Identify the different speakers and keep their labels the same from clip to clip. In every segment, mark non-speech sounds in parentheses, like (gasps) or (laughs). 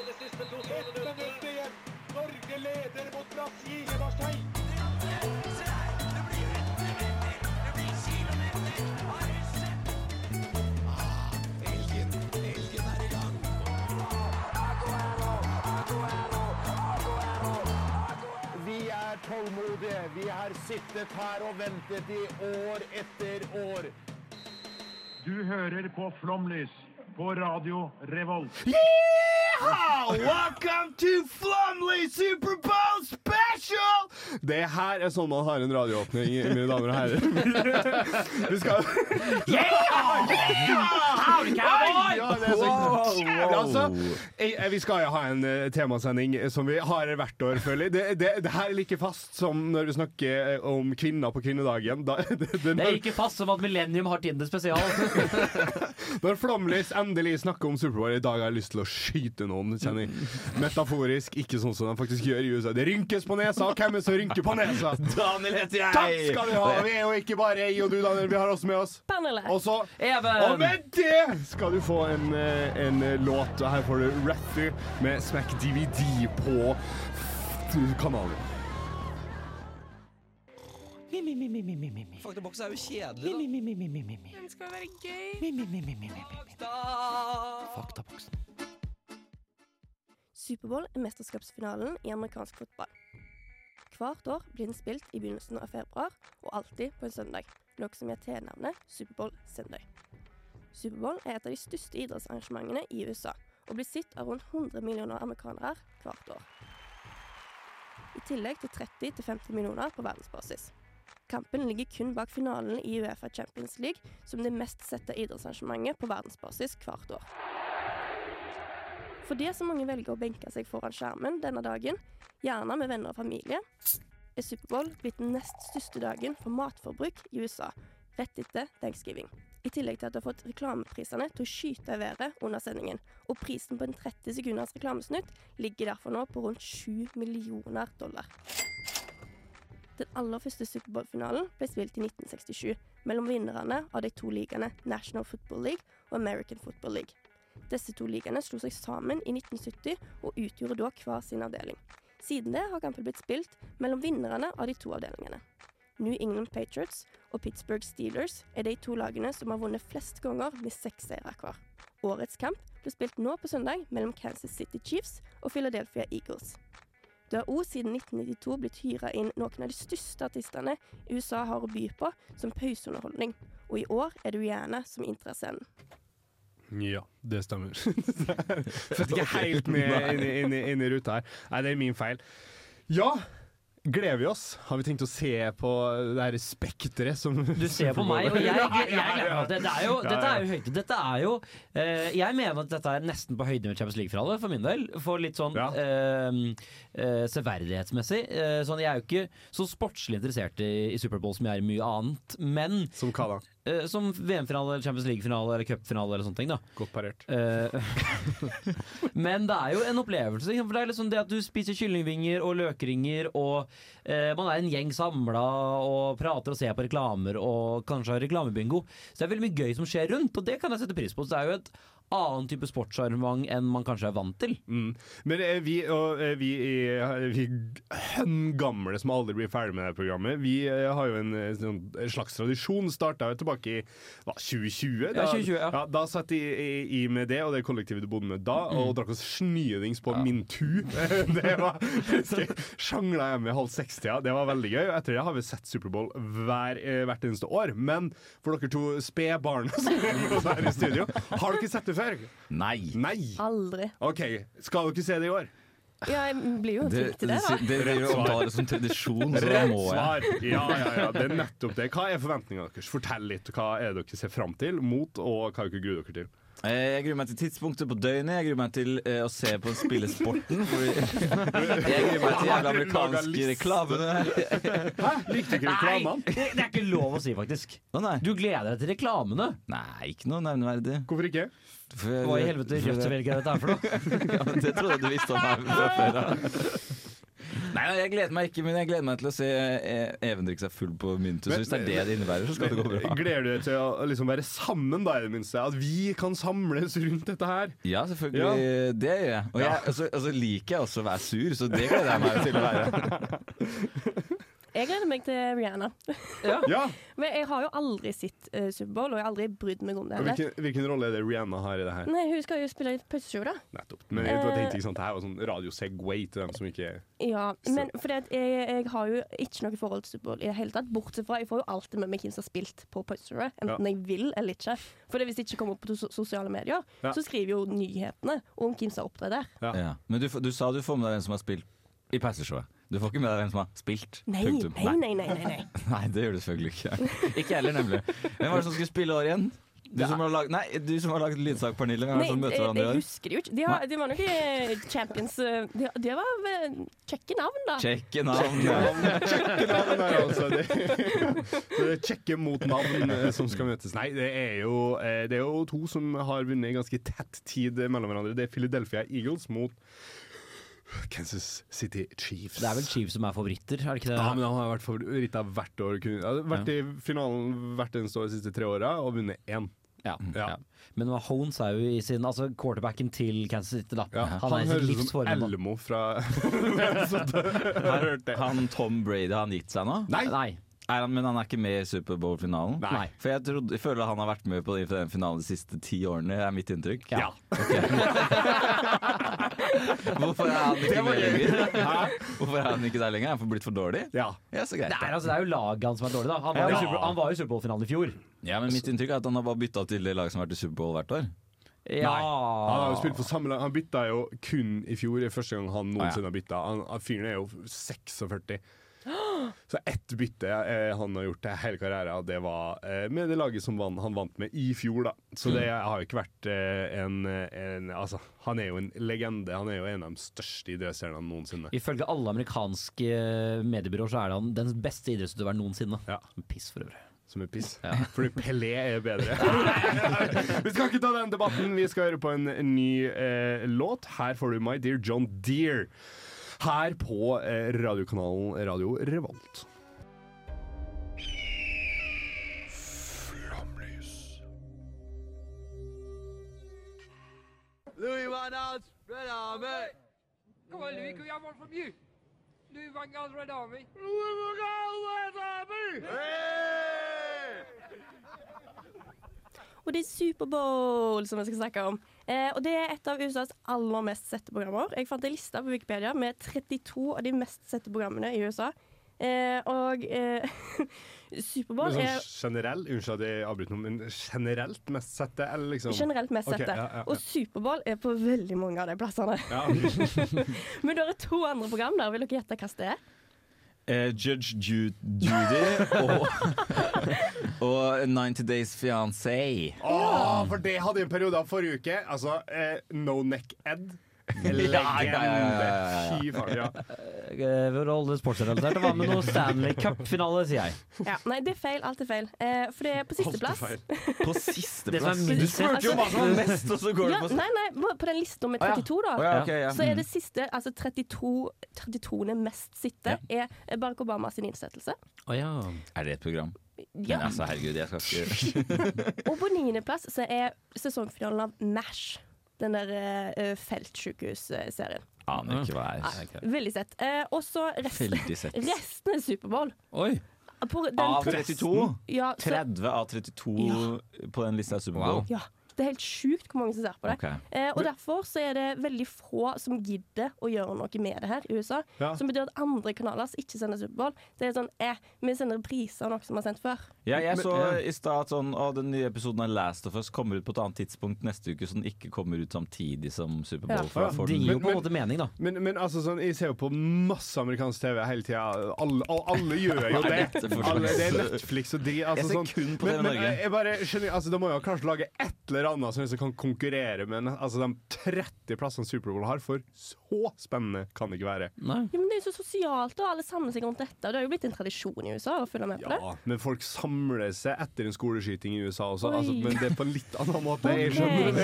Speaker 1: Ett minutt igjen. Norge leder mot Brasil i Marseille.
Speaker 2: Vi er tålmodige. Vi har sittet her og ventet i år etter år.
Speaker 3: Du hører på Flomlys på Radio Revolt.
Speaker 4: Welcome to Flumley Super Bowl Special! Det her er sånn man har en radioåpning, mine damer og
Speaker 5: (laughs)
Speaker 4: herrer. Vi skal Ja, det er så jævlig, altså. Jeg, jeg- vi skal jo ha en eh, temasending som vi har hvert år, føler jeg. Det, det, det her er like fast som når vi snakker eh, om kvinner på kvinnedagen. Da, (laughs) det, det,
Speaker 5: Det er
Speaker 4: når,
Speaker 5: ikke fast som at Millennium har Tinder spesial.
Speaker 4: (laughs) når Flomlys endelig snakker om Superbowl i dag, har jeg lyst til å skyte noen, kjenner jeg. Metaforisk, ikke sånn som de faktisk gjør i USA. Det rynkes på nesa, og hvem er det som rynker på nesa?
Speaker 2: Daniel heter jeg.
Speaker 4: Takk skal du ha! Vi er jo ikke bare jeg og du, Daniel. Vi har også med oss
Speaker 6: Panelet.
Speaker 4: Og så
Speaker 5: Even!
Speaker 4: Og med det skal du få en, eh, en eh, låt. Og her får du Rathy med Smack DVD på f- kanalen.
Speaker 7: Faktaboks er jo kjedelig,
Speaker 6: Den skal være gøy.
Speaker 7: da.
Speaker 8: Superbowl er mesterskapsfinalen i amerikansk fotball. Hvert år blir den spilt i begynnelsen av februar, og alltid på en søndag, noe som gir tilnavnet Superbowl søndag. Superbowl er et av de største idrettsarrangementene i USA, og blir sett av rundt 100 millioner amerikanere hvert år. I tillegg til 30-50 millioner på verdensbasis. Kampen ligger kun bak finalen i Uefa Champions League, som det mest sette idrettsarrangementet på verdensbasis hvert år. Fordi så mange velger å benke seg foran skjermen denne dagen, gjerne med venner og familie, er Superbowl blitt den nest største dagen for matforbruk i USA, rett etter thanksgiving. I tillegg til at du har fått reklameprisene til å skyte i været under sendingen. Og prisen på en 30 sekunders reklamesnutt ligger derfor nå på rundt 7 millioner dollar. Den aller første Superbowl-finalen ble spilt i 1967 mellom vinnerne av de to ligaene National Football League og American Football League. Disse to ligaene slo seg sammen i 1970 og utgjorde da hver sin avdeling. Siden det har kampen blitt spilt mellom vinnerne av de to avdelingene. New England Patriots og Pittsburgh Steelers er de to lagene som har vunnet flest ganger med seks seire hver. Årets kamp ble spilt nå på søndag mellom Kansas City Chiefs og Philadelphia Eagles. Det har òg siden 1992 blitt hyra inn noen av de største artistene USA har å by på som pauseunderholdning, og i år er det Rihanna som inntrer scenen.
Speaker 4: Ja, (laughs) det stemmer. Fødte ikke helt med inn, i- inn, i- inn i ruta her. Nei, det er min feil. Ja, gleder vi oss? Har vi tenkt å se på det her spekteret som
Speaker 5: Du ser på meg, og jeg, jeg, jeg, gleder meg. Dette er jo,
Speaker 4: Ja, ja.
Speaker 5: dette er jo høyde. Dette er jo eh, Jeg mener at dette er nesten på høyde med Champions League-finale, for min del. For litt sånn
Speaker 4: Ja.
Speaker 5: eh, eh, severdighetsmessig. Eh, sånn, jeg er jo ikke så sportslig interessert i, i Superbowl som jeg er i mye annet. Men
Speaker 4: (laughs) Som hva da?
Speaker 5: eh, som VM-finale, eller Champions League-finale eller cupfinale eller sånne ting, da.
Speaker 4: Godt parert.
Speaker 5: Eh, (laughs) Men det er jo en opplevelse. ikke sant? For Det er liksom det at du spiser kyllingvinger og løkringer, og eh, man er en gjeng samla og prater og ser på reklamer og kanskje har reklamebingo. Så det er veldig mye gøy som skjer rundt, og det kan jeg sette pris på. Så det er jo et annen type sportsarrangement enn man kanskje er vant til.
Speaker 4: Men eh, vi, og, eh, vi, i- vi hønn gamle som aldri blir ferdig med det her programmet, vi eh, har jo en, eh, sånn, en slags tradisjon. Starta jo tilbake i hva, 2020. Da,
Speaker 5: Ja, 2020, ja.
Speaker 4: da satt jeg i- i med det og det kollektivet du bodde med da,
Speaker 5: Mm.
Speaker 4: og drakk oss snydings på min tu. (laughs) det var Sjangla hjemme i halv seks-tida. Det var veldig gøy. Og etter det har vi sett Superbowl hver, eh, hvert eneste år. Men for dere to spedbarn som er med oss her i studio, har dere ikke sett det før?
Speaker 2: Nei.
Speaker 4: Nei!
Speaker 8: Aldri.
Speaker 4: OK, skal dere se det i år?
Speaker 8: Ja, jeg blir jo tvunget til det, da.
Speaker 2: dere omtaler som tradisjon, så da
Speaker 4: Rett
Speaker 2: må jeg.
Speaker 4: svar! Ja, ja, ja, det er nettopp det. Hva er forventningene deres? Fortell litt. Hva er det dere ser fram til, mot, og hva dere gruer dere til?
Speaker 2: Eh, Jeg gruer meg til tidspunktet på døgnet. Jeg gruer meg til eh, å se på spillesporten. Fordi jeg gruer meg til jævla amerikanske reklamer.
Speaker 4: Hæ? Likte dere reklamene?
Speaker 5: det, det er ikke lov å si, faktisk.
Speaker 2: Å nei.
Speaker 5: Du gleder deg til reklamene.
Speaker 2: Nei, ikke noe nevneverdig.
Speaker 4: Hvorfor ikke?
Speaker 2: For-
Speaker 5: Hva i helvete Rødt velger dette her for noe?
Speaker 2: Ja, men det trodde jeg du visste om meg fra før av. Nei, nei, jeg gleder meg ikke, men jeg gleder meg til å se eh, Even drikke seg full på Mintus.
Speaker 4: Men-
Speaker 2: Hvis det er det det innebærer, så skal det gå bra.
Speaker 4: Gleder du deg til å liksom være sammen, da, i det minste? At vi kan samles rundt dette her?
Speaker 2: Ja, selvfølgelig. Det gjør jeg. Og jeg, altså, altså, liker jeg også å være sur, så det gleder jeg meg til å være.
Speaker 8: Jeg gleder meg til Rihanna.
Speaker 4: Ja!
Speaker 8: (laughs) Men jeg har jo aldri sett eh, Superbowl, og jeg har aldri brydd meg om det.
Speaker 4: Og
Speaker 8: heller.
Speaker 4: Hvilken, hvilken rolle er det Rihanna har i det her?
Speaker 8: Nei, hun skal jo spille i pølseshow, da.
Speaker 4: Nettopp. Men jeg tenkte ikke sånn, det her var sånn radio-segway til dem som ikke
Speaker 8: Ja,
Speaker 4: Så-
Speaker 8: men fordi at jeg, jeg har jo ikke noe forhold til Superbowl i det hele tatt. Bortsett fra jeg får jo alltid med meg hvem som har spilt på pølseshowet, enten jeg vil eller ikke. For det hvis det ikke kommer opp på so- sosiale medier,
Speaker 4: Ja.
Speaker 8: så skriver jo nyhetene om hvem som har opptredd der.
Speaker 2: Ja. Men du, får- du sa du får med deg hvem som har spilt i pauseshowet. Du får ikke med deg hvem som har spilt.
Speaker 8: Nei,
Speaker 2: punktum.
Speaker 8: nei, nei, nei, nei, nei.
Speaker 2: Nei, det gjør du selvfølgelig ikke. (laughs) Ikke heller, nemlig. Hvem var det som skulle spille år igjen? Du som har lag- nei, du som har laget lydsak, Pernille. Hvem er det
Speaker 8: Nei,
Speaker 2: som
Speaker 8: eh,
Speaker 2: møter
Speaker 8: jeg,
Speaker 2: hverandre i
Speaker 8: jeg
Speaker 2: år?
Speaker 8: husker det jo ikke. De, har, de var nok eh, champions eh, Det de var vel kjekke navn, da.
Speaker 2: Sjekke navn.
Speaker 4: Kjekke navn er altså det. Så det (laughs) er kjekke mot navn eh, som skal møtes. Nei, det er, jo, eh, det er jo to som har vunnet i ganske tett tid mellom hverandre. Det er Philadelphia Eagles mot Kansas City Chiefs.
Speaker 5: Det er vel Chiefs som er favoritter, er det ikke det?
Speaker 4: Ja, men han har vært favoritt av hvert år. Kun- ja, Vært i finalen hvert eneste år de siste tre åra og vunnet én.
Speaker 5: Ja,
Speaker 4: Ja.
Speaker 5: ja. Men Mahomes er jo i sin Altså quarterbacken til Kansas City, da.
Speaker 4: Ja.
Speaker 5: Han,
Speaker 4: Han,
Speaker 5: er i sitt
Speaker 4: høres
Speaker 5: livs
Speaker 4: ut som
Speaker 5: form. da.
Speaker 4: Elmo fra (laughs) Så da- har du hørt det.
Speaker 2: Han Tom Brady, har han gitt seg nå?
Speaker 4: Nei!
Speaker 5: Nei.
Speaker 2: Er han, men han er ikke med i Superbowl-finalen?
Speaker 4: Nei.
Speaker 2: For jeg, trodde, jeg føler han har vært med på den- den finalen de siste ti årene, er mitt inntrykk.
Speaker 4: Ja.
Speaker 2: Hvorfor er han ikke med lenger?
Speaker 4: Hæ?
Speaker 2: Hvorfor er han ikke der lenger? Er han for blitt for dårlig?
Speaker 4: Ja.
Speaker 2: Ja, så greit.
Speaker 5: Det, er,
Speaker 2: da.
Speaker 5: altså, det er jo laget hans som er dårlig, da. Han var
Speaker 4: Ja.
Speaker 5: jo i Super- han var jo i Superbowl-finalen i fjor.
Speaker 2: Ja, men mitt inntrykk er at han har bare bytta til det laget som har vært i Superbowl hvert år.
Speaker 5: Ja.
Speaker 4: Han har jo spilt for samme lag. Han bytta jo kun i fjor. Det er første gang han
Speaker 2: Ah. Ah, ja.
Speaker 4: noensinne har bytta. Han, han fyren er jo
Speaker 2: (gasps)
Speaker 4: 46. Så ett bytte eh, han har gjort til hele karrieren, og det var eh, med det laget som vann, han vant med i fjor, da. Så det
Speaker 2: Mm.
Speaker 4: har jo ikke vært eh, en, en Altså, han er jo en legende. Han er jo en av de største idrettsstjernene noensinne.
Speaker 5: Ifølge alle amerikanske mediebyråer så er han den beste idrettsutøveren noensinne.
Speaker 4: Ja.
Speaker 5: Piss for øvrig.
Speaker 4: Som er piss. (laughs) Fordi Pelé er bedre. (laughs) vi skal ikke ta den debatten. Vi skal høre på en ny eh, låt. Her får du My Dear John Deere. Her på eh, radiokanalen Radio Revolt.
Speaker 7: Come on, Louis, can we have one from you? Louis Van Gaal's Red Army.
Speaker 8: Og det er Superbowl som vi skal snakke om. Eh, og det er et av USAs aller mest sette programmer. Jeg fant en liste på Wikipedia med 32 av de mest sette programmene i USA. Eh, og eh, (laughs)
Speaker 4: Men
Speaker 8: Superbowl
Speaker 4: Sånn
Speaker 8: er
Speaker 4: generell, unnskyld at jeg avbryter noe, men generelt mest sette, eller liksom
Speaker 8: generelt mest
Speaker 4: Ok,
Speaker 8: sette.
Speaker 4: ja, ja, ja.
Speaker 8: Og Superbowl er på veldig mange av de plassene.
Speaker 4: Ja, ok.
Speaker 8: (laughs) Men det er to andre program der. Vil dere gjette hva det er?
Speaker 2: Eh, Judge
Speaker 8: (laughs)
Speaker 2: Ju Judy og, og 90 Days Fiancé.
Speaker 4: Åh, for det hadde jeg en periode av forrige uke. Altså, eh, No Neck Ed. (laughs) Legende.
Speaker 2: ja, ja, ja, ja.
Speaker 4: Fy faen. Ja.
Speaker 5: Eh, For å holde det sportsrelatert, hva med noe Stanley Cup-finale, sier jeg.
Speaker 8: Ja. Nei, det er feil. Alt er feil. Eh, for det er på
Speaker 4: Alt er
Speaker 8: sisteplass.
Speaker 4: feil.
Speaker 2: På
Speaker 5: Det som
Speaker 2: sisteplass.
Speaker 5: er minst sett.
Speaker 2: jo hva som var mest, og så går
Speaker 8: Altså, Ja,
Speaker 2: det på
Speaker 8: nei, nei, på den lista med 32, da.
Speaker 2: Å ja, ok, ja.
Speaker 8: Så er det siste, altså 32, 32. mest sitte, er Barack Obama sin innsettelse.
Speaker 5: Å ja.
Speaker 2: Er det et program? Men
Speaker 8: Ja.
Speaker 2: altså, herregud, jeg skal ikke
Speaker 8: (laughs) Og på niendeplass så er sesongfinalen av MASH. Den der eh, feltsykehusserien.
Speaker 2: Aner ikke hva
Speaker 8: Nei,
Speaker 2: er.
Speaker 8: Veldig sett. Eh, og så resten,
Speaker 2: Veldig sett.
Speaker 8: resten er Superbowl.
Speaker 5: Oi.
Speaker 8: På den
Speaker 2: Av
Speaker 8: tre-
Speaker 2: 32?
Speaker 8: Ja, så,
Speaker 2: 30 av 32 på den lista er Superbowl.
Speaker 8: ja. Det er helt sjukt hvor mange som ser på det.
Speaker 2: Ok.
Speaker 8: Eh, og Derfor så er det veldig få som gidder å gjøre noe med det her i USA.
Speaker 4: Ja.
Speaker 8: Som betyr at andre kanaler som ikke sender Superbowl, det er sånn eh, vi sender repriser av noe som er sendt før.
Speaker 2: Ja, jeg så i stad at sånn, å, den nye episoden av Last of Us kommer ut på et annet tidspunkt neste uke, så den ikke kommer ut samtidig som
Speaker 8: Ja.
Speaker 2: Superbowl. For da får
Speaker 5: Det
Speaker 2: den
Speaker 5: gir jo på en måte mening, da.
Speaker 4: Men, men altså sånn, jeg ser jo på masse amerikansk TV hele tida, alle, og alle
Speaker 2: (laughs)
Speaker 4: gjør jo det.
Speaker 2: dette for slags-
Speaker 4: Alle, det er Netflix og dri... Altså,
Speaker 2: Jeg ser
Speaker 4: sånn.
Speaker 2: kun på
Speaker 4: men,
Speaker 2: TV
Speaker 4: men,
Speaker 2: Norge.
Speaker 4: eh, jeg bare skjønner, altså, Da må jeg jo kanskje lage et eller annet som liksom kan konkurrere med ne- altså, de 30 plassene Superbowl har, for så spennende kan det ikke være.
Speaker 5: Nei.
Speaker 8: Ja, men Det er jo så sosialt, og alle samler seg rundt dette. Og Det har jo blitt en tradisjon i USA å følge med på det.
Speaker 4: Ja, Men folk samler seg etter en skoleskyting i USA også, altså,
Speaker 8: Oi.
Speaker 4: men det er på en litt annen måte. Jeg
Speaker 8: Ok.
Speaker 4: skjønner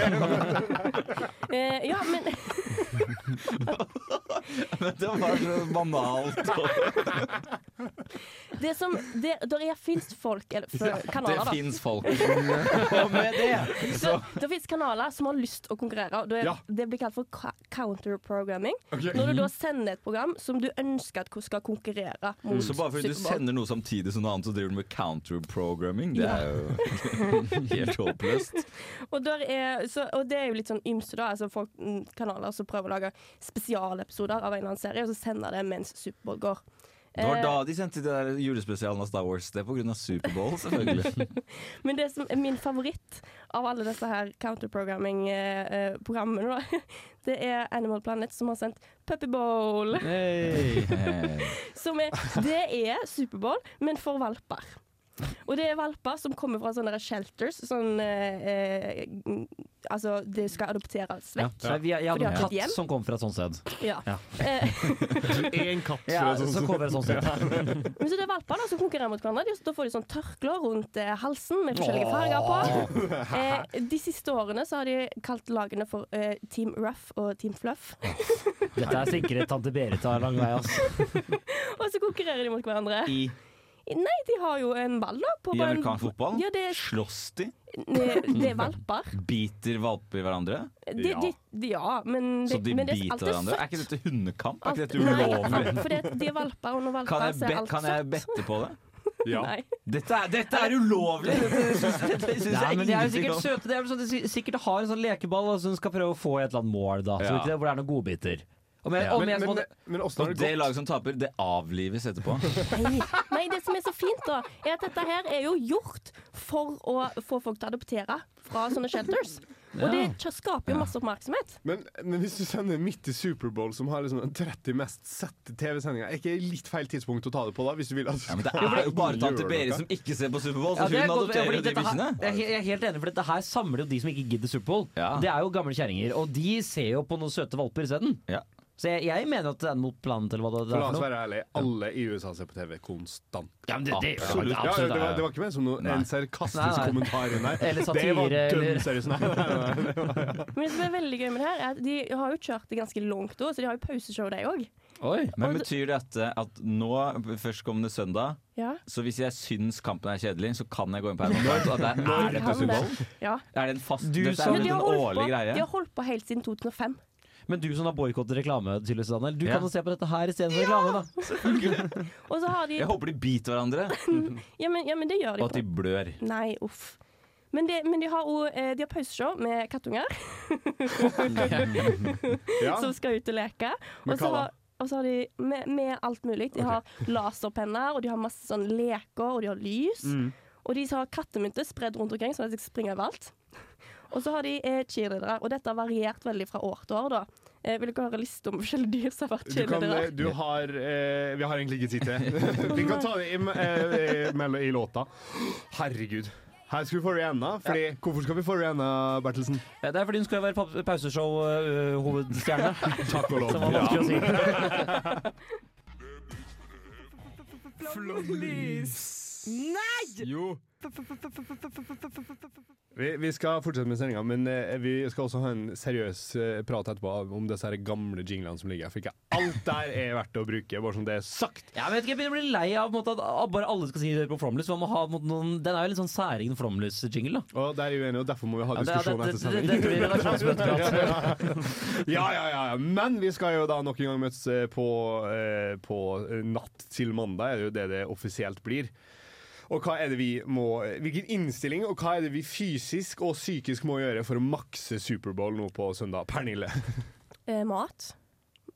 Speaker 4: det.
Speaker 8: Eh, ja, men
Speaker 2: (laughs) Det var så (laughs) banalt. og-
Speaker 8: (laughs) Det som Det der fins folk eller, for, kanaler,
Speaker 2: Det
Speaker 8: da.
Speaker 2: fins folk.
Speaker 5: Og med (laughs) det
Speaker 8: Så,
Speaker 2: altså.
Speaker 8: det fins kanaler som har lyst å konkurrere. Og det,
Speaker 4: Ja.
Speaker 8: det blir kalt for ka- counterprogramming.
Speaker 4: Ok.
Speaker 8: Når du da sender et program som du ønsker at hvor skal konkurrere mot
Speaker 2: (laughs) Så bare fordi du
Speaker 8: Superbowl.
Speaker 2: sender noe samtidig som noe annet, så driver du med counterprogramming. Det er jo (laughs) helt håpløst.
Speaker 8: Og, der er, så, og det er jo litt sånn ymse, da. Altså folk, mm, kanaler som prøver å lage spesialepisoder av en eller annen serie, og så sender det mens Superbowl går.
Speaker 2: Det var
Speaker 8: Eh,
Speaker 2: da de sendte de der julespesialen av Star Wars. Det er pga. Superbowl, (laughs) selvfølgelig.
Speaker 8: Men det som er min favoritt av alle disse her eh, counterprogramming-programmene, (laughs) det er Animal Planet som har sendt Puppy Bowl. (laughs) Som er, det er Superbowl, men for valper. Og det er valper som kommer fra sånne der shelters. Sånn eh, eh, Altså, det skal adopteres
Speaker 5: ja,
Speaker 8: vekk.
Speaker 5: så jeg, jeg hadde
Speaker 8: Fordi jeg
Speaker 5: en
Speaker 8: har et hjem.
Speaker 5: katt som kom fra et sånt sted.
Speaker 8: Ja.
Speaker 5: Ja.
Speaker 8: Eh,
Speaker 4: Én katt.
Speaker 5: Ja,
Speaker 4: så det er sånn-
Speaker 5: som kom fra et sånt sted.
Speaker 8: men så det er valper da som konkurrerer mot hverandre. De- Da får de sånn tørklær rundt eh, halsen med forskjellige farger på.
Speaker 2: (laughs)
Speaker 8: Eh, de siste årene så har de kalt lagene for eh, Team Rough og Team Fluff. (laughs)
Speaker 5: Dette er sikret tante Berit har lang vei, ass.
Speaker 8: Og så konkurrerer de mot hverandre.
Speaker 2: I,
Speaker 8: Nei, de har jo en ball, da. På
Speaker 2: i
Speaker 8: bare en-
Speaker 2: amerikansk fotball
Speaker 8: Ja, det, er-
Speaker 2: slåss de,
Speaker 8: det er valper.
Speaker 2: (laughs) biter valper i hverandre.
Speaker 8: De,
Speaker 4: Ja.
Speaker 8: de, de, ja, men,
Speaker 2: Så
Speaker 8: det,
Speaker 2: de
Speaker 8: men det,
Speaker 2: biter
Speaker 8: alt er
Speaker 2: hverandre. Er ikke
Speaker 8: søtt.
Speaker 2: dette hundekamp? Er
Speaker 8: Alt-
Speaker 2: ikke dette
Speaker 8: Nei,
Speaker 2: ulovlig?
Speaker 8: (laughs) for det, de er valper, og når valper
Speaker 2: Kan jeg,
Speaker 8: så er
Speaker 2: be,
Speaker 8: alt
Speaker 2: kan jeg
Speaker 8: søtt.
Speaker 2: bette på det?
Speaker 4: Ja.
Speaker 8: Nei.
Speaker 2: Dette er, dette er ulovlig! Dette syns dette syns
Speaker 5: Nei,
Speaker 2: jeg
Speaker 5: men de er jo
Speaker 2: ingenting
Speaker 5: sikkert
Speaker 2: om.
Speaker 5: søte. Det er vel sånn at de si- sikkert har en sånn lekeball og så hun skal prøve å få i et eller annet mål, da. Så
Speaker 2: Ja.
Speaker 5: ikke det, hvor det er noen godbiter. Om jeg, om
Speaker 4: Men,
Speaker 5: jeg,
Speaker 4: men,
Speaker 5: sånn,
Speaker 4: men Åsne, har
Speaker 2: Og det
Speaker 4: det gått?
Speaker 2: laget som taper, det avlives
Speaker 5: (laughs)
Speaker 2: etterpå.
Speaker 8: Nei. Nei, det som er så fint, da, er at dette her er jo gjort for å få folk til å adoptere fra sånne shelters. Og det kj- skaper jo masse oppmerksomhet.
Speaker 4: Men, men hvis du sender midt i Superbowl, som har liksom den 30 mest sette TV-sendinga, er ikke litt feil tidspunkt å ta det på da? Hvis du vil at
Speaker 2: Ja, men det er jo bare tante Berit som ikke ser på Superbowl,
Speaker 5: Ja,
Speaker 2: så
Speaker 5: det er
Speaker 2: hun
Speaker 5: godt, fordi
Speaker 2: adopterer de
Speaker 5: dette her-
Speaker 2: bikkjene.
Speaker 5: Jeg er he- jeg er helt enig, for dette her samler jo de som ikke gidder Superbowl.
Speaker 2: Ja.
Speaker 5: Det er jo gamle kjerringer, og de ser jo på noen søte valper isteden.
Speaker 2: Ja.
Speaker 5: Så jeg, jeg mener at Animal Planet eller hva det, det
Speaker 4: La
Speaker 5: er
Speaker 4: oss
Speaker 2: sånn.
Speaker 5: for noe.
Speaker 4: være ærlige. Alle i USA ser på TV konstant.
Speaker 5: Ja, men det, det, gjør
Speaker 4: Ja, ja,
Speaker 5: det,
Speaker 2: Absolutt.
Speaker 4: det, var,
Speaker 5: absolutt,
Speaker 4: det var ikke ment som noe, en sarkastisk
Speaker 5: Nei, nei.
Speaker 4: kommentar inn der.
Speaker 5: Eller
Speaker 4: det var
Speaker 5: satire,
Speaker 4: dønn
Speaker 5: eller-
Speaker 4: seriøst. (laughs) Nei, nei, nei, nei.
Speaker 8: Men det som er veldig gøy med det her, er at de har jo kjørt det ganske langt òg, så de har jo pauseshow, de òg.
Speaker 5: Oi.
Speaker 2: Men betyr dette at nå, førstkommende søndag
Speaker 8: Ja.
Speaker 2: så hvis jeg syns kampen er kjedelig, så kan jeg gå inn på Herman At der er det
Speaker 8: Kan det.
Speaker 2: Superbowl?
Speaker 8: Ja.
Speaker 2: Er det en fast
Speaker 5: Du
Speaker 2: Dette
Speaker 5: som-
Speaker 2: er
Speaker 8: Men
Speaker 2: vel
Speaker 8: de, har
Speaker 2: en
Speaker 8: holdt på,
Speaker 2: årlig
Speaker 8: de
Speaker 2: greie?
Speaker 8: har holdt på helt siden 2005.
Speaker 5: Men du som har boikottet reklame, tydeligvis, Daniel, du
Speaker 2: Ja.
Speaker 5: kan jo se på dette her istedenfor reklame, da.
Speaker 8: Og så har de
Speaker 2: Jeg håper de biter hverandre,
Speaker 8: Ja, men, ja, men det gjør de.
Speaker 2: og
Speaker 8: på
Speaker 2: at de blør.
Speaker 8: Nei, uff. Men, det, men de har, jo, eh, de har pauseshow med kattunger
Speaker 4: Ja.
Speaker 8: som skal ut og leke.
Speaker 4: Med
Speaker 8: Og så
Speaker 4: hva da?
Speaker 8: har, og så har de med, med alt mulig. De har laserpenner, og de har masse sånn leker, og de har lys. Og de har kattemynter spredd rundt omkring, så de springer over alt. Og så har de eh, cheerleadere, og dette har variert veldig fra år til år, da. Eh, vil dere høre liste om forskjellige dyr som har vært
Speaker 4: Du, kan, eh,
Speaker 8: cheerleadere?
Speaker 4: du har eh, Vi har egentlig ikke tid
Speaker 5: (laughs)
Speaker 4: til det. Vi kan ta det i, eh, i, mellom- i låta. Herregud. Her skal vi få Rihanna. Fordi, Hvorfor skal vi få Rihanna, Bertelsen?
Speaker 5: Det er fordi hun skulle være pa-
Speaker 2: (laughs)
Speaker 5: pauseshow-hovedstjerne.
Speaker 4: Takk og lov.
Speaker 5: som var vanskelig å si.
Speaker 4: Vi, vi skal fortsette med sendinga, men eh, vi skal også ha en seriøs eh, prat etterpå om disse her gamle jinglene som ligger her. For ikke alt der er verdt å bruke, bare som det er sagt.
Speaker 5: Ja, men jeg vet ikke, jeg begynner å bli lei av på en måte, at ah, bare alle skal si det på Flomlys. Man må ha, på en måte, noen, den er jo litt sånn særing Flomlys-jingle, da.
Speaker 4: Og der er vi uenige, og derfor må vi ha
Speaker 5: Ja, det-
Speaker 4: diskusjon
Speaker 5: det-
Speaker 4: etter
Speaker 5: det- det- det blir redaksjonsmøteprat.
Speaker 4: sending. (laughs) Ja, ja, ja, ja. Men vi skal jo da nok en gang møtes eh, på, eh, på eh, natt til mandag, er det jo det det offisielt blir. Og hva er det vi må Hvilken innstilling og hva er det vi fysisk og psykisk må gjøre for å makse Superbowl nå på søndag? Pernille.
Speaker 8: Eh, mat.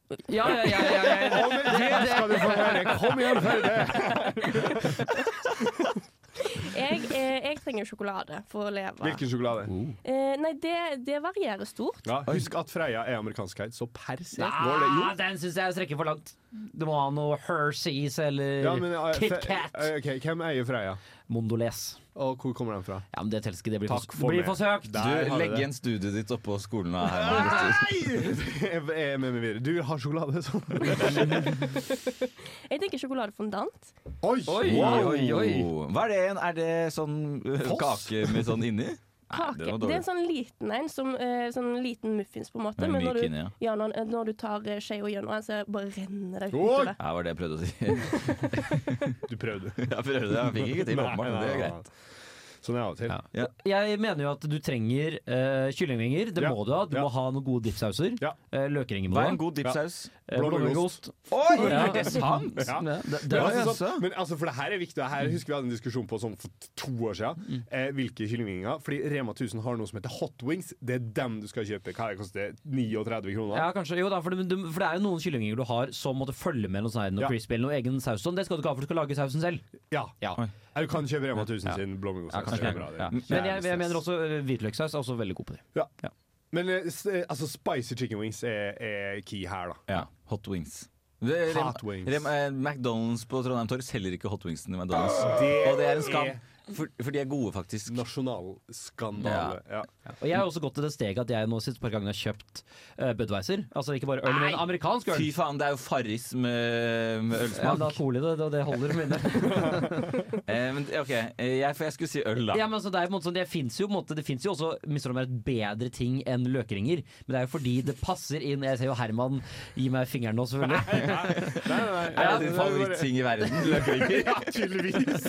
Speaker 5: (laughs) Ja, ja, ja, ja, ja.
Speaker 4: (laughs) Og med det skal du få høre. Kom igjen, Førde!
Speaker 8: Jeg, eh, jeg trenger sjokolade for å leve.
Speaker 4: (laughs) Hvilken sjokolade?
Speaker 2: Mm.
Speaker 8: Eh, nei, det, det varierer stort.
Speaker 4: Ja, husk at Freia er amerikanskheid, så persert går det.
Speaker 5: Ah,
Speaker 4: Jo.
Speaker 5: den syns jeg strekker for langt. Du må ha noe Herseys eller
Speaker 4: Ja, men, eh, Fe-
Speaker 5: KitKat.
Speaker 4: eh, ok, hvem eier Freia,
Speaker 5: Mondoles.
Speaker 4: og hvor kommer den fra?
Speaker 5: Ja, men det teller ikke. Det blir
Speaker 4: Takk
Speaker 5: for,
Speaker 4: for
Speaker 5: blir
Speaker 4: meg.
Speaker 5: for søkt.
Speaker 4: Der har
Speaker 2: Du,
Speaker 4: vi
Speaker 2: legg
Speaker 4: det.
Speaker 2: igjen studiet ditt oppå skolen av Herman.
Speaker 5: (laughs)
Speaker 4: (laughs) Jeg er med meg videre. Du har sjokolade, så
Speaker 8: Jeg tenker sjokoladefondant.
Speaker 4: Oi!
Speaker 2: Oh. Wow. Hva er det igjen? Er det sånn øh,
Speaker 4: Foss?
Speaker 2: kake med sånn inni? Nei,
Speaker 8: Kake.
Speaker 2: den var
Speaker 8: Det er
Speaker 2: dårlig.
Speaker 8: en sånn liten en, som, eh, sånn liten muffins, på en måte.
Speaker 2: Den er
Speaker 8: Men når
Speaker 2: myk
Speaker 8: du,
Speaker 2: inni, ja.
Speaker 8: ja, når, eh, når du tar eh, skjea gjennom den, så bare renner det
Speaker 4: Oi!
Speaker 8: utover.
Speaker 2: Ja, var det jeg prøvde å si. Jeg
Speaker 4: Du
Speaker 2: (laughs)
Speaker 4: prøvde.
Speaker 2: prøvde, jeg fikk ikke til,
Speaker 4: Nei,
Speaker 2: åpenbart. men
Speaker 4: nei,
Speaker 2: Det er
Speaker 4: nei,
Speaker 2: greit.
Speaker 4: nei. Sånn er det av og til.
Speaker 2: Ja. Ja.
Speaker 5: Jeg mener jo at du trenger eh, kyllingvinger. Det
Speaker 4: Ja.
Speaker 5: må du ha. Du
Speaker 4: Ja.
Speaker 5: må ha noen gode dippsauser.
Speaker 4: Ja.
Speaker 5: Eh, løkringer må du
Speaker 2: Hva er
Speaker 5: ha.
Speaker 2: en god dipsaus?
Speaker 5: Eh, Blåmuggost.
Speaker 2: Oi,
Speaker 5: Ja.
Speaker 2: er det sant?
Speaker 4: Ja.
Speaker 5: Ja, det, det,
Speaker 4: Det var
Speaker 2: Ja,
Speaker 4: sånn,
Speaker 2: jaså.
Speaker 4: men altså, for det her er viktig. Det her husker vi hadde en diskusjon på sånn for to år siden.
Speaker 2: Mm.
Speaker 4: Eh, hvilke kyllingvinger. Fordi Rema 1000 har noe som heter Hot Wings. Det er dem du skal kjøpe. Hva er det koster 39 kroner?
Speaker 5: ja, kanskje. Jo da, for, det, for det er jo noen kyllingvinger du har som måtte følge med noe sånn her, noe
Speaker 4: Ja.
Speaker 5: crispy eller noe egen saus. Sånn. Det skal du ikke ha, for du skal lage sausen selv.
Speaker 4: Ja.
Speaker 2: Oi.
Speaker 4: Ja, Du kan kjøpe Rema 1000 sin blåmuggost.
Speaker 5: Ja, kanskje
Speaker 4: Det er
Speaker 5: det.
Speaker 4: bra, det.
Speaker 5: Ja.
Speaker 4: Jævlig
Speaker 5: Men jeg, jeg
Speaker 4: stress.
Speaker 5: mener også eh, hvitløkssaus er også veldig god på det.
Speaker 4: Ja.
Speaker 5: Ja.
Speaker 4: Men eh, s- eh, altså, spicy chicken wings er, er key her, da.
Speaker 2: Ja, hot wings. Det- Rem-
Speaker 4: Hot wings.
Speaker 2: Rem- eh, McDonald's på Trondheim Torg selger ikke hot wingsen til McDonald's.
Speaker 4: Ah, Det
Speaker 2: og det er en skam,
Speaker 4: er-
Speaker 2: for, for de er gode, faktisk.
Speaker 4: Nasjonalskandale. Ja.
Speaker 5: Og jeg har også gått til det steget at jeg nå siste par gangene har kjøpt eh, Budweiser. Altså ikke bare øl, men amerikansk øl.
Speaker 2: Fy faen, det er jo Farris med, med
Speaker 5: Ja, men det
Speaker 2: ølsmak.
Speaker 5: er cool i det, det, det holder å minne.
Speaker 4: (laughs)
Speaker 2: Eh, men ok, eh, jeg, for jeg skulle si øl, da.
Speaker 5: Ja, men altså, det er på en måte sånn, det finnes jo, på en måte, det finnes jo også misforstå meg rett, bedre ting enn løkringer, men det er jo fordi det passer inn Jeg ser jo Herman gi meg fingeren nå, selvfølgelig.
Speaker 2: er det din favoritting
Speaker 4: (laughs)
Speaker 2: i verden? Løkringer?
Speaker 4: Ja, tydeligvis!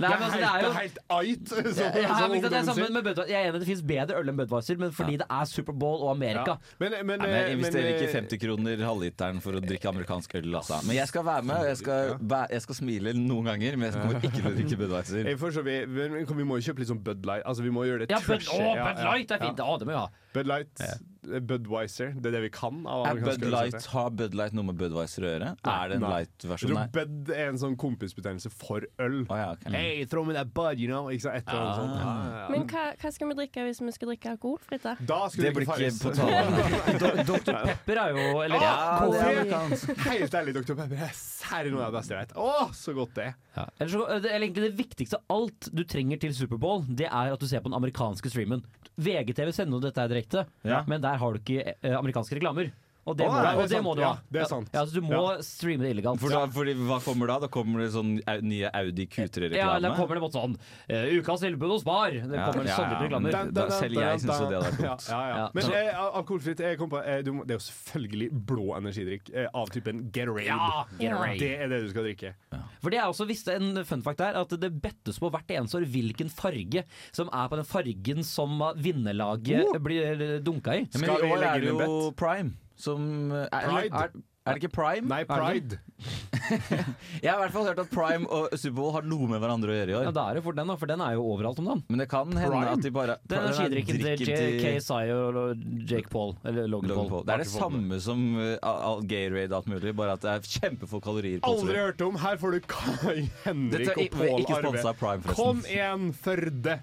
Speaker 5: Nei, men altså, det er jo
Speaker 4: det er helt ait, som,
Speaker 5: ja,
Speaker 4: som
Speaker 5: men ikke sant, det er
Speaker 4: ungdommen
Speaker 5: sammen
Speaker 4: sier.
Speaker 5: med Budweiser. Jeg er enig i at det finnes bedre øl enn Budweiser, men fordi det er Superbowl og Amerika.
Speaker 4: Ja. Men, men,
Speaker 2: Nei, men jeg
Speaker 4: eh,
Speaker 2: investerer
Speaker 4: men, eh,
Speaker 2: ikke 50 kroner halvliteren for å drikke amerikansk øl, altså. Men jeg skal være med, og jeg skal, væ- jeg skal smile noen ganger, men jeg kommer ikke til å drikke Budwiser.
Speaker 4: Jeg forstår, vi, men vi må jo kjøpe litt sånn Bud Light. Altså, vi må gjøre det
Speaker 5: Ja, Bud,
Speaker 4: trashy.
Speaker 5: å,
Speaker 4: Ja,
Speaker 5: Bud
Speaker 4: ja.
Speaker 5: Light er fint! Å, det må vi ha.
Speaker 4: Bud Light, eh, Budweiser. Det er det vi kan av
Speaker 2: Er
Speaker 4: amerikansk
Speaker 2: Bud
Speaker 4: øl,
Speaker 2: Light,
Speaker 4: sant?
Speaker 2: har Bud Light noe med Budwiser å gjøre? Er det en
Speaker 4: Nei. Jeg
Speaker 2: light-versjon?
Speaker 4: tror
Speaker 2: Nei.
Speaker 4: Bud er en sånn kompisbetegnelse for øl.
Speaker 2: Å ja, ok.
Speaker 4: Hey, throw me that bud, you know. Ikke sant? Et eller annet sånt. Ja, ja,
Speaker 8: Men hva, hva skal vi drikke hvis vi skal drikke alkoholfritt? da?
Speaker 4: ja. Da skulle
Speaker 2: Det
Speaker 4: vi
Speaker 2: blir
Speaker 4: ikke
Speaker 2: ikke
Speaker 4: Farris.
Speaker 2: på
Speaker 4: (laughs)
Speaker 2: tale.
Speaker 5: Dr. Pepper er jo Eller
Speaker 2: Ja, det er
Speaker 5: Cola.
Speaker 2: amerikansk.
Speaker 4: Helt ærlig, Dr. Pepper. Det er særlig noe av det beste jeg vet. Å, så godt det er.
Speaker 5: Ja. Eller, så, eller egentlig det viktigste av alt du trenger til Superbowl, det er at du ser på den amerikanske streamen. VGTV sender jo dette her direkte,
Speaker 2: Ja.
Speaker 5: men der har du ikke eh, amerikanske reklamer. Og det,
Speaker 4: Å,
Speaker 5: må,
Speaker 4: nei, det er
Speaker 5: og det
Speaker 4: sant.
Speaker 5: må du ha.
Speaker 4: Ja, det er sant.
Speaker 5: Ja, så du må streame det illegalt.
Speaker 2: For da, fordi, hva kommer da? Da kommer det sånn au- nye Audi
Speaker 5: ja,
Speaker 2: Q3-reklame?
Speaker 5: da kommer det bare sånn eh, 'Ukas tilbud hos Spar'. Det
Speaker 2: Ja,
Speaker 5: kommer
Speaker 2: ja,
Speaker 5: sånne
Speaker 2: ja, men
Speaker 5: reklamer.
Speaker 2: den- Da- selv jeg synes jo det hadde vært
Speaker 4: Ja,
Speaker 2: godt.
Speaker 4: ja, ja.
Speaker 5: Ja.
Speaker 4: Men eh, al- alkoholfritt eh, kom på, eh, du må, Det er jo selvfølgelig blå energidrikk eh, av typen Gatorade.
Speaker 5: Ja, Gatorade.
Speaker 4: Det er det du skal drikke.
Speaker 2: Mm.
Speaker 5: For det er også visst en fun fact der at det bettes på hvert eneste år hvilken farge som er på den fargen som vinnerlaget
Speaker 2: Oh!
Speaker 5: blir dunka i.
Speaker 2: Ja, men
Speaker 4: Skal vi
Speaker 2: i år
Speaker 4: legge
Speaker 2: er det
Speaker 4: inn en
Speaker 2: jo
Speaker 4: bet?
Speaker 2: Prime som eh, er,
Speaker 4: Pride?
Speaker 2: Er, er det ikke Prime?
Speaker 4: Nei,
Speaker 2: Er det ikke?
Speaker 4: pride.
Speaker 2: Jeg har i hvert fall hørt at Prime og Superbowl har noe med hverandre å gjøre i
Speaker 5: Ja,
Speaker 2: år.
Speaker 5: da er det for den, da, for den er jo overalt om dagen.
Speaker 2: Men det kan hende
Speaker 4: Prime?
Speaker 2: at de bare
Speaker 5: Det er
Speaker 2: Prime
Speaker 5: energidrikken til
Speaker 2: drikken
Speaker 5: J.K. Sayo og Jake Paul. Eller Logan,
Speaker 2: Logan
Speaker 5: Paul.
Speaker 2: Paul. Det er det
Speaker 4: Martin Paul.
Speaker 2: samme som uh, all- gay raid og alt mulig, bare at det er kjempefolk kalorier. på
Speaker 4: Aldri hørt om! Her får du Kai Henrik
Speaker 2: Dette er
Speaker 4: og
Speaker 2: ikke-
Speaker 4: Pål
Speaker 2: ikke
Speaker 4: Arve.
Speaker 2: sponset av Prime, forresten.
Speaker 4: Kom igjen, Førde!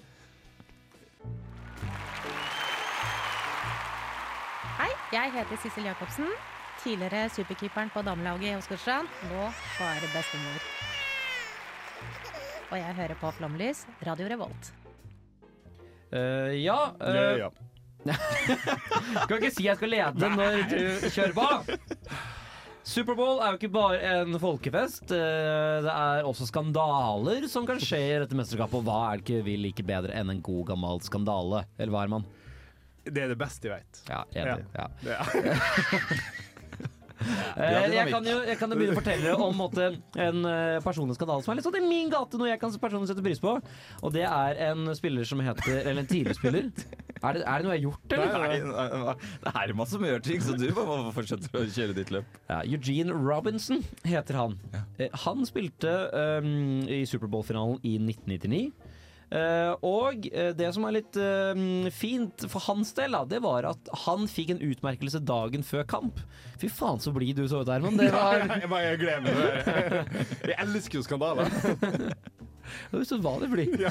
Speaker 9: Hei, jeg heter Sissel Jacobsen. Tidligere superkeeperen på damelaget i Åsgårdstrand. Nå bare bestemor. Og jeg hører på Flomlys, Radio Revolt.
Speaker 5: Eh, ja, eh,
Speaker 4: Ja, ja.
Speaker 5: Kan ikke si jeg skal lede når du kjører på! Superbowl er jo ikke bare en folkefest. eh, Det er også skandaler som kan skje i dette mesterskapet. Og hva er det ikke vi liker bedre enn en god, gammel skandale? Eller hva, Herman?
Speaker 4: Det er det beste jeg vet.
Speaker 5: Ja, enig. Ja.
Speaker 4: Ja.
Speaker 5: (laughs) Eh,
Speaker 2: dynamikk.
Speaker 5: jeg, kan jo, jeg kan jo begynne å fortelle om måtte, en eh, personlig skandale som er litt sånn i min gate, noe jeg kan personlig sette pris på. Og det er en spiller som heter Eller en tidligere spiller. (laughs) Er det, er det noe jeg har gjort, eller?
Speaker 2: Nei, nei, nei, det er masse som gjør ting, så du bare må fortsette å kjøre ditt løp.
Speaker 5: Ja, Eugene Robinson heter han. Eh, Han spilte ehm, i Superbowl-finalen i 1999. Eh, og eh, det som er litt ehm, fint for hans del, da, det var at han fikk en utmerkelse dagen før kamp. Fy faen, så blid du så ut, Herman. Det var
Speaker 4: (laughs) Jeg bare gleder meg til det. her. (laughs) Jeg elsker jo skandaler.
Speaker 5: Så var det blid.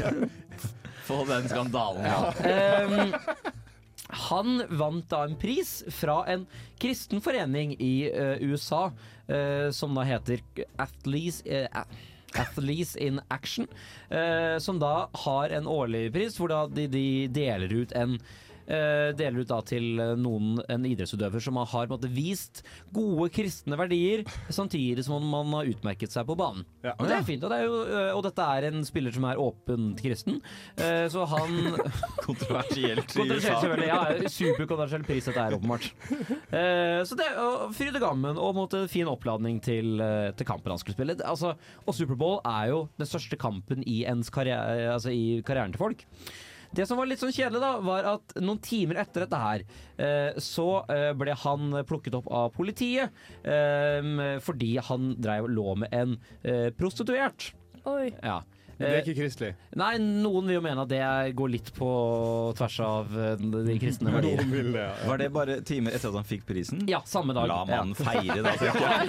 Speaker 2: Få den skandalen. Ja.
Speaker 5: Ehm, han vant da en pris fra en kristen forening i eh, USA eh, som da heter Athletes, eh, A- Athletes in Action. eh, som da har en årlig pris hvor da de, de deler ut en eh, deler ut da til eh, noen, en idrettsutøver som har på en måte, vist gode kristne verdier, samtidig som man har utmerket seg på banen.
Speaker 4: Ja.
Speaker 5: Og det er fint, og, det er jo, eh, og dette er en spiller som er åpent kristen, eh, så han
Speaker 2: Kontroversielt i
Speaker 5: Kontroversiell,
Speaker 2: USA.
Speaker 5: selvfølgelig. Ja, superkontroversiell pris dette er, åpenbart. Eh, så det og Fryd og gammen og på en måte, fin oppladning til, eh, til kampen han skulle spille. Det- Altså, og Superbowl er jo den største kampen i, ens karriere, altså, i karrieren til folk. Det som var litt sånn kjedelig, da, var at noen timer etter dette her, eh, så eh, ble han plukket opp av politiet eh, fordi han drev lå med en eh, prostituert. Eh,
Speaker 8: Oi.
Speaker 5: Ja.
Speaker 4: Det er ikke kristelig.
Speaker 2: Eh.
Speaker 5: Nei, noen vil jo mene at det går litt på tvers av eh, de
Speaker 4: (laughs)
Speaker 5: kristne verdier.
Speaker 4: Noen vil det, ja.
Speaker 2: Var det bare timer etter at han fikk prisen?
Speaker 5: Ja, samme dag.
Speaker 2: La mannen
Speaker 5: ja.
Speaker 2: feire, da. tenker (laughs)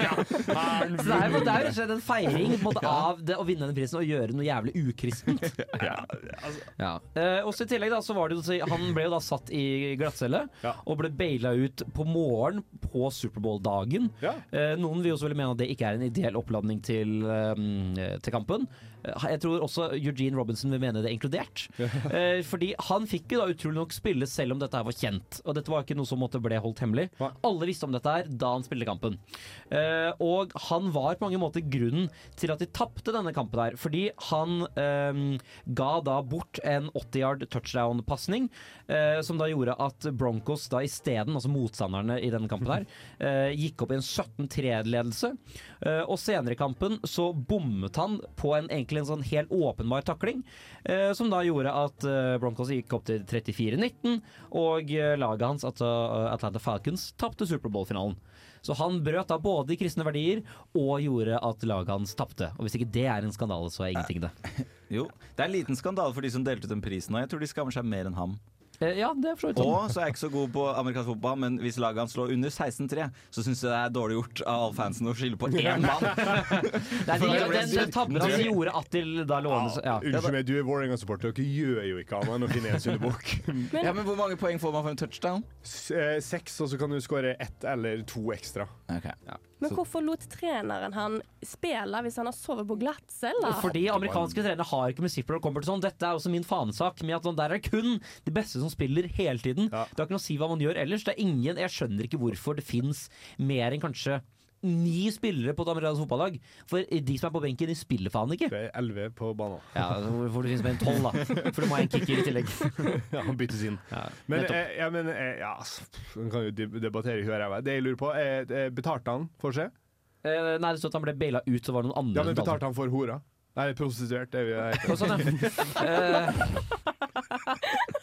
Speaker 5: (laughs)
Speaker 2: jeg.
Speaker 5: Så det er jo det er jo rett og slett en feiring på en
Speaker 4: (laughs)
Speaker 5: måte, av det å vinne den prisen og gjøre noe jævlig ukristent. Ja. Eh, også I tillegg da, så var det jo, så- han ble jo da satt i glattcelle
Speaker 4: Ja.
Speaker 5: og ble baila ut på morgen på Superbowl-dagen.
Speaker 4: Ja.
Speaker 5: Eh, noen vil jo selvfølgelig mene at det ikke er en ideell oppladning til, eh, til kampen. Eh, Jeg tror også Eugene Robinson vil mene det er inkludert. Eh, fordi han fikk jo da utrolig nok spille selv om dette her var kjent. Og dette var ikke noe som måtte ble holdt hemmelig.
Speaker 4: Nei.
Speaker 5: Alle visste om dette her da han spilte kampen. Eh, og han var på mange måter grunnen til at de tapte denne kampen her. Fordi han eh, ga da bort en 80 yard touchdown-pasning, eh, som da gjorde at Broncos da isteden, altså motstanderne i denne kampen (laughs) her, eh, gikk opp i en 17-3-ledelse. Eh, og senere i kampen så bommet han på en egentlig en sånn helt åpenbar takling, eh, som da gjorde at eh, Broncos gikk opp til 34-19, og eh, laget hans, altså eh, Atlanta Falcons, tapte Superbowl-finalen. Så han brøt da både de kristne verdier og gjorde at laget hans tapte. Og hvis ikke det er en skandale, så er ingenting det.
Speaker 2: Jo, det er en liten skandale for de som delte ut den prisen, og jeg tror de skammer seg mer enn ham.
Speaker 5: Eh, ja, det er for så vidt sånn.
Speaker 2: Og så er jeg ikke så god på amerikansk fotball, men hvis laget hans lå under 16-3, så syns jeg det er dårlig gjort av alle fansen å skylde på én mann.
Speaker 5: Det er de, den, den tabben han gjorde at de da lånes
Speaker 4: Ja,
Speaker 5: ja.
Speaker 4: Unnskyld meg, du er Vålerenga-supporter. Dere gjør jo ikke annet enn å finne en syndebukk.
Speaker 2: Ja, (laughs) men hvor mange poeng får man for en touchdown?
Speaker 4: S- eh, Seks, og så kan du skåre ett eller to ekstra.
Speaker 8: Men hvorfor lot treneren han spille hvis han har sovet på glattcelle?
Speaker 5: Fordi amerikanske trenere har ikke musikk når det kommer til sånn. Dette er også min fanesak. Med at sånn, der er kun de beste som spiller hele tiden.
Speaker 4: Ja.
Speaker 5: Det har ikke noe å si hva man gjør ellers. Det er ingen, Jeg skjønner ikke hvorfor det fins mer enn kanskje ni spillere på et amerikansk fotballag. For de som er på benken, de spiller faen ikke.
Speaker 4: Det er elleve på banen.
Speaker 5: Ja, altså, Hvorfor det finnes mer enn tolv, da. For du må ha en kicker i tillegg.
Speaker 4: (laughs) Ja, han byttes inn.
Speaker 5: Ja,
Speaker 4: Men,
Speaker 5: nettopp.
Speaker 4: eh, ja, men eh, ja, ass, pff, man kan jo deb- debattere i huet og ræva. Det jeg lurer på, er, eh, betalte han for seg?
Speaker 5: Eh, nei, det står at han ble baila ut, så var det noen
Speaker 4: Ja,
Speaker 5: andre
Speaker 4: men
Speaker 5: som talte.
Speaker 4: betalte han for hora? Nei, prostituert. Det er vi, (laughs) det
Speaker 5: Og sånn, ja.
Speaker 4: (laughs)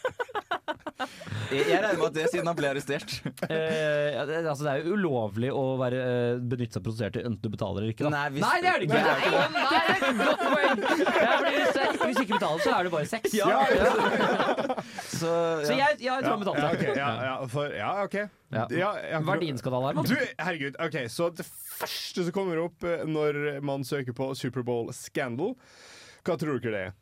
Speaker 5: Eh,
Speaker 2: Jeg jeg regner med at det er siden han ble arrestert.
Speaker 5: eh, ja, det- altså, det er jo ulovlig å være, eh, benytte seg av prostituerte enten du betaler eller ikke. Da.
Speaker 2: Nei, hvis-
Speaker 5: nei, det er det ikke! Nei, det er et godt poeng. Ja, fordi hvis, det- hvis ikke betaler, så er det bare sex.
Speaker 2: Så,
Speaker 5: Så
Speaker 2: ja.
Speaker 5: jeg, ja, jeg tror han betalte.
Speaker 4: Ja, ok, ja, ja, for, ja, OK.
Speaker 5: Ja.
Speaker 4: ja,
Speaker 5: Verdienskandale, Herman.
Speaker 4: Du, herregud, ok, så det første som kommer opp eh, når man søker på Superbowl scandal, hva tror dere det er?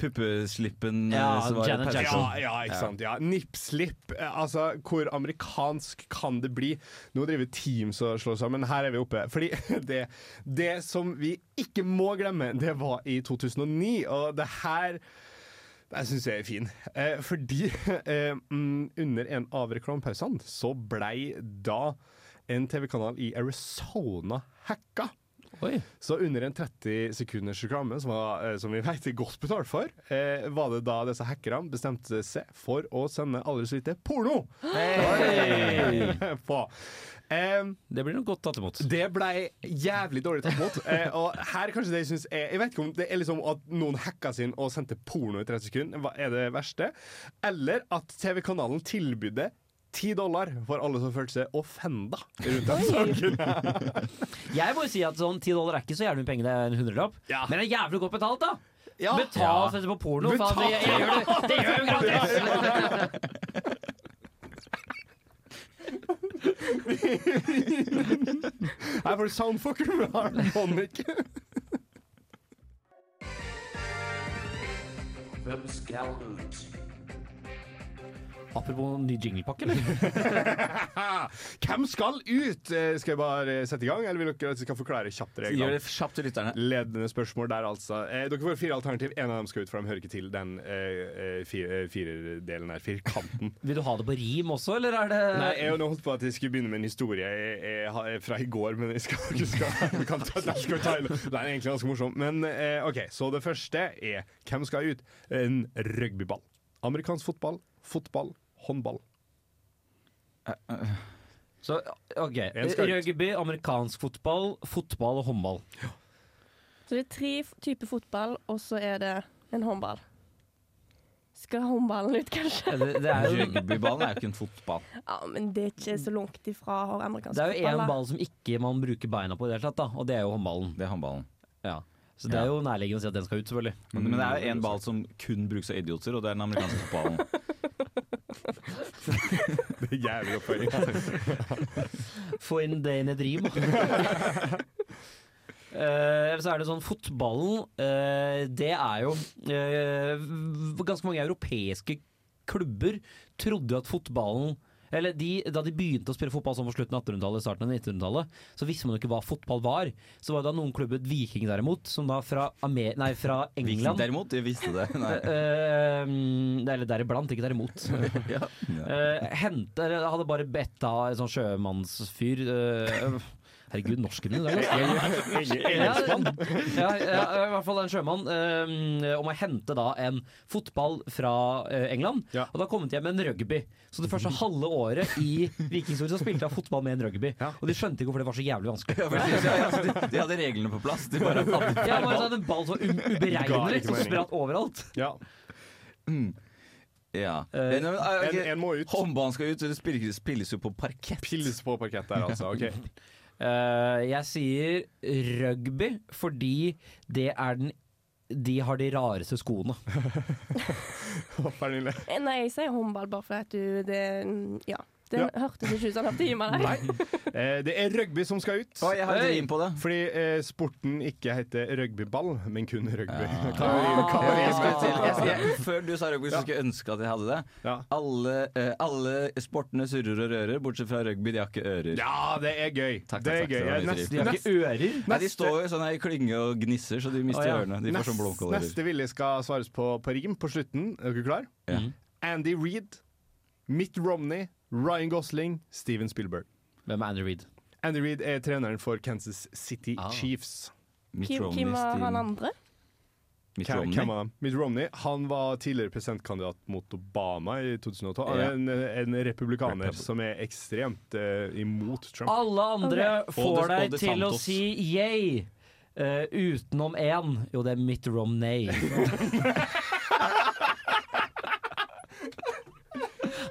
Speaker 2: Puppeslippen
Speaker 5: Ja,
Speaker 2: eh, som var
Speaker 5: Janet
Speaker 2: i
Speaker 5: Jackson.
Speaker 4: Ja,
Speaker 2: Persson.
Speaker 4: ja, ikke sant. Ja. Nippslip. eh, Altså, hvor amerikansk kan det bli? Nå driver Teams og slår sammen. Her er vi oppe. Fordi (laughs) det, det som vi ikke må glemme, det var i 2009, og det her jeg syns jeg er fin. Eh, fordi (laughs) eh, mm, under en av reklamepausene så blei da en TV-kanal i Arizona hacka.
Speaker 5: Oi.
Speaker 4: Så under en 30 sekunders reklame, som, var, eh, som vi (laughs) vet er godt betalt for, eh, var det da disse hackerne bestemte seg for å sende aldri så lite porno (laughs) på. Eh,
Speaker 5: Det blir nok godt tatt imot.
Speaker 4: det blei jævlig dårlig tatt imot. Eh, og her kanskje det jeg syns er Jeg vet ikke om det er liksom at noen hacka sin og sendte porno i 30 sekunder, hva er det verste? Eller at TV-kanalen tilbydde 10 dollar for alle som følte seg offenda rundt den saken.
Speaker 5: Jeg må jo si at sånn 10 dollar er ikke så jævlig mye penger, det er en hundrelapp.
Speaker 4: Ja.
Speaker 5: Men det er jævlig godt betalt, da!
Speaker 4: Ja.
Speaker 5: Betal for dette på porno, faen. Det, jeg, gjør det, det gjør jeg jo gratis!
Speaker 4: Her får du soundfucker med Arne Bonnik.
Speaker 5: Apropos ny jinglepakke, eller?
Speaker 4: Hvem skal ut? Eh, Skal vi bare eh, sette i gang, eller vil dere at vi skal forklare kjapt
Speaker 2: Gjør
Speaker 4: reglene?
Speaker 2: det kjapt til lytterne.
Speaker 4: Ledende spørsmål der, altså. Eh, dere får fire alternativ. En av dem skal ut, for de hører ikke til den eh, eh, fire- eh, firerdelen her. Firkanten.
Speaker 2: (laughs)
Speaker 5: Vil du ha det på rim også, eller er det
Speaker 4: Nei, jeg har nå holdt på at jeg skulle begynne med en historie eh, jeg, jeg, har- fra i går, men jeg skal ikke skal, (laughs) vi kan ta, nei, skal vi ta, den er egentlig ganske morsom. Men eh, OK, så det første er hvem skal ut? En rugbyball. Amerikansk fotball, fotball, håndball.
Speaker 5: Så, ok.
Speaker 4: En skal ut.
Speaker 5: Rugby, amerikansk fotball, fotball og håndball.
Speaker 8: Så det er tre f- typer fotball, og så er det en håndball. Skal håndballen ut,
Speaker 4: (laughs)
Speaker 8: kanskje?
Speaker 5: Det, det er jo
Speaker 2: Rugbyballen er jo ikke en fotball.
Speaker 8: Ja, men det er ikke så langt ifra å ha amerikansk
Speaker 5: det er jo
Speaker 8: fotball,
Speaker 5: én
Speaker 8: da.
Speaker 5: ball som ikke man bruker beina på i det hele tatt, da, og det er jo håndballen.
Speaker 2: Det er håndballen.
Speaker 5: Ja. Så det er jo nærliggende å si at den skal ut, selvfølgelig.
Speaker 2: Men, men det er jo en ball som kun brukes av idioter, og det er den amerikanske fotballen.
Speaker 4: Det er jævlig
Speaker 2: (laughs)
Speaker 4: oppføring.
Speaker 5: Få inn det inn i dream. Eh, Eller så er det sånn, fotballen eh, Det er jo eh, v- Ganske mange europeiske klubber trodde at fotballen eller de, Da de begynte å spille fotball sånn på slutten av 1800-tallet, starten av 1900-tallet, så visste man jo ikke hva fotball var. Så var det da noen klubber, Viking derimot, som da fra, Amer nei, fra
Speaker 2: Viking
Speaker 5: England
Speaker 2: derimot, de visste det.
Speaker 5: (laughs)
Speaker 2: Nei.
Speaker 5: Eh, Eller deriblant, ikke derimot.
Speaker 2: Ja.
Speaker 5: Eh, hente, eller jeg hadde bare bedt av en sånn sjømannsfyr eh, Herregud, norsken din i dag, altså.
Speaker 4: Engelskmann.
Speaker 5: Ja, ja, I hvert fall en sjømann. eh, om å hente da en fotball fra eh, England.
Speaker 4: Ja.
Speaker 5: Og da kom de hjem med en rugby. Så det første halve året i Vikingstore så spilte jeg fotball med en rugby.
Speaker 4: Ja.
Speaker 5: Og de skjønte ikke hvorfor det var så jævlig vanskelig.
Speaker 2: Ja, for de, ja, altså, de, de hadde reglene på plass. De bare hadde
Speaker 5: Jeg bare sånn en ball som var u- uberegnelig, som
Speaker 4: mening.
Speaker 5: spratt overalt.
Speaker 4: Ja.
Speaker 2: ja.
Speaker 5: Eh,
Speaker 2: Nei, men, ah,
Speaker 4: En,
Speaker 2: ok.
Speaker 4: en må ut.
Speaker 2: Håndballen skal ut, så det spilles, spilles jo på parkett.
Speaker 4: Pils på parkett der, altså.
Speaker 2: (laughs)
Speaker 4: ok
Speaker 5: Eh, jeg sier rugby fordi det er den de har de rareste skoene.
Speaker 4: Pernille.
Speaker 8: Eh, Nei, jeg sier håndball bare fordi at du det, mm, Ja. Det
Speaker 4: Ja.
Speaker 8: hørtes ikke ut som han hørte hjemme der.
Speaker 4: Nei. Eh, det er rugby som skal ut.
Speaker 2: Å, jeg har et
Speaker 5: Hei.
Speaker 2: rim på det.
Speaker 4: Fordi eh, sporten ikke heter rugbyball, men kun rugby.
Speaker 2: Ah. Ja.
Speaker 4: (laughs) Hva er rim- hva er
Speaker 2: Jeg
Speaker 4: rim-
Speaker 2: skulle til, jeg, jeg, før du sa rugby, så skulle jeg ønske at jeg hadde det.
Speaker 4: Ja.
Speaker 2: Alle, eh, alle sportene surrer og rører, bortsett fra rugby, de har ikke ører.
Speaker 4: Ja, det er gøy.
Speaker 2: Takk,
Speaker 4: det
Speaker 2: takk,
Speaker 4: er gøy. Eh,
Speaker 2: takk. Det var
Speaker 4: neste,
Speaker 5: De har
Speaker 4: neste,
Speaker 5: ikke ører.
Speaker 2: Nei, de står jo sånn her i klynge og gnisser, så de mister
Speaker 5: Å, ja.
Speaker 2: ørene. De får sånn
Speaker 4: neste,
Speaker 2: blomkåler.
Speaker 4: neste Ville skal svares på på rim på slutten. Er dere klar?
Speaker 2: Ja.
Speaker 5: Mm.
Speaker 4: Andy Reed, Mitt Romney, Ryan Gosling, Steven Spielberg.
Speaker 5: Hvem er Andrew Reed?
Speaker 4: Andy Reed er treneren for Kansas City
Speaker 5: Ah.
Speaker 4: Chiefs.
Speaker 2: Mitt
Speaker 8: Kim,
Speaker 2: Romney,
Speaker 8: Kim var han
Speaker 2: Steven-
Speaker 8: andre?
Speaker 2: Mitt
Speaker 4: Hvem-
Speaker 2: Romney.
Speaker 4: hvem av dem? Mitt Romney han var tidligere presidentkandidat mot Obama i 2012. Han
Speaker 2: Ja.
Speaker 4: er en, en republikaner
Speaker 2: Republi-
Speaker 4: som er ekstremt eh, imot Trump.
Speaker 5: Alle andre får
Speaker 2: Og det- og
Speaker 5: deg
Speaker 2: det
Speaker 5: til å
Speaker 2: Santos.
Speaker 5: si yay. Eh, utenom én. Jo, det er Mitt Romney.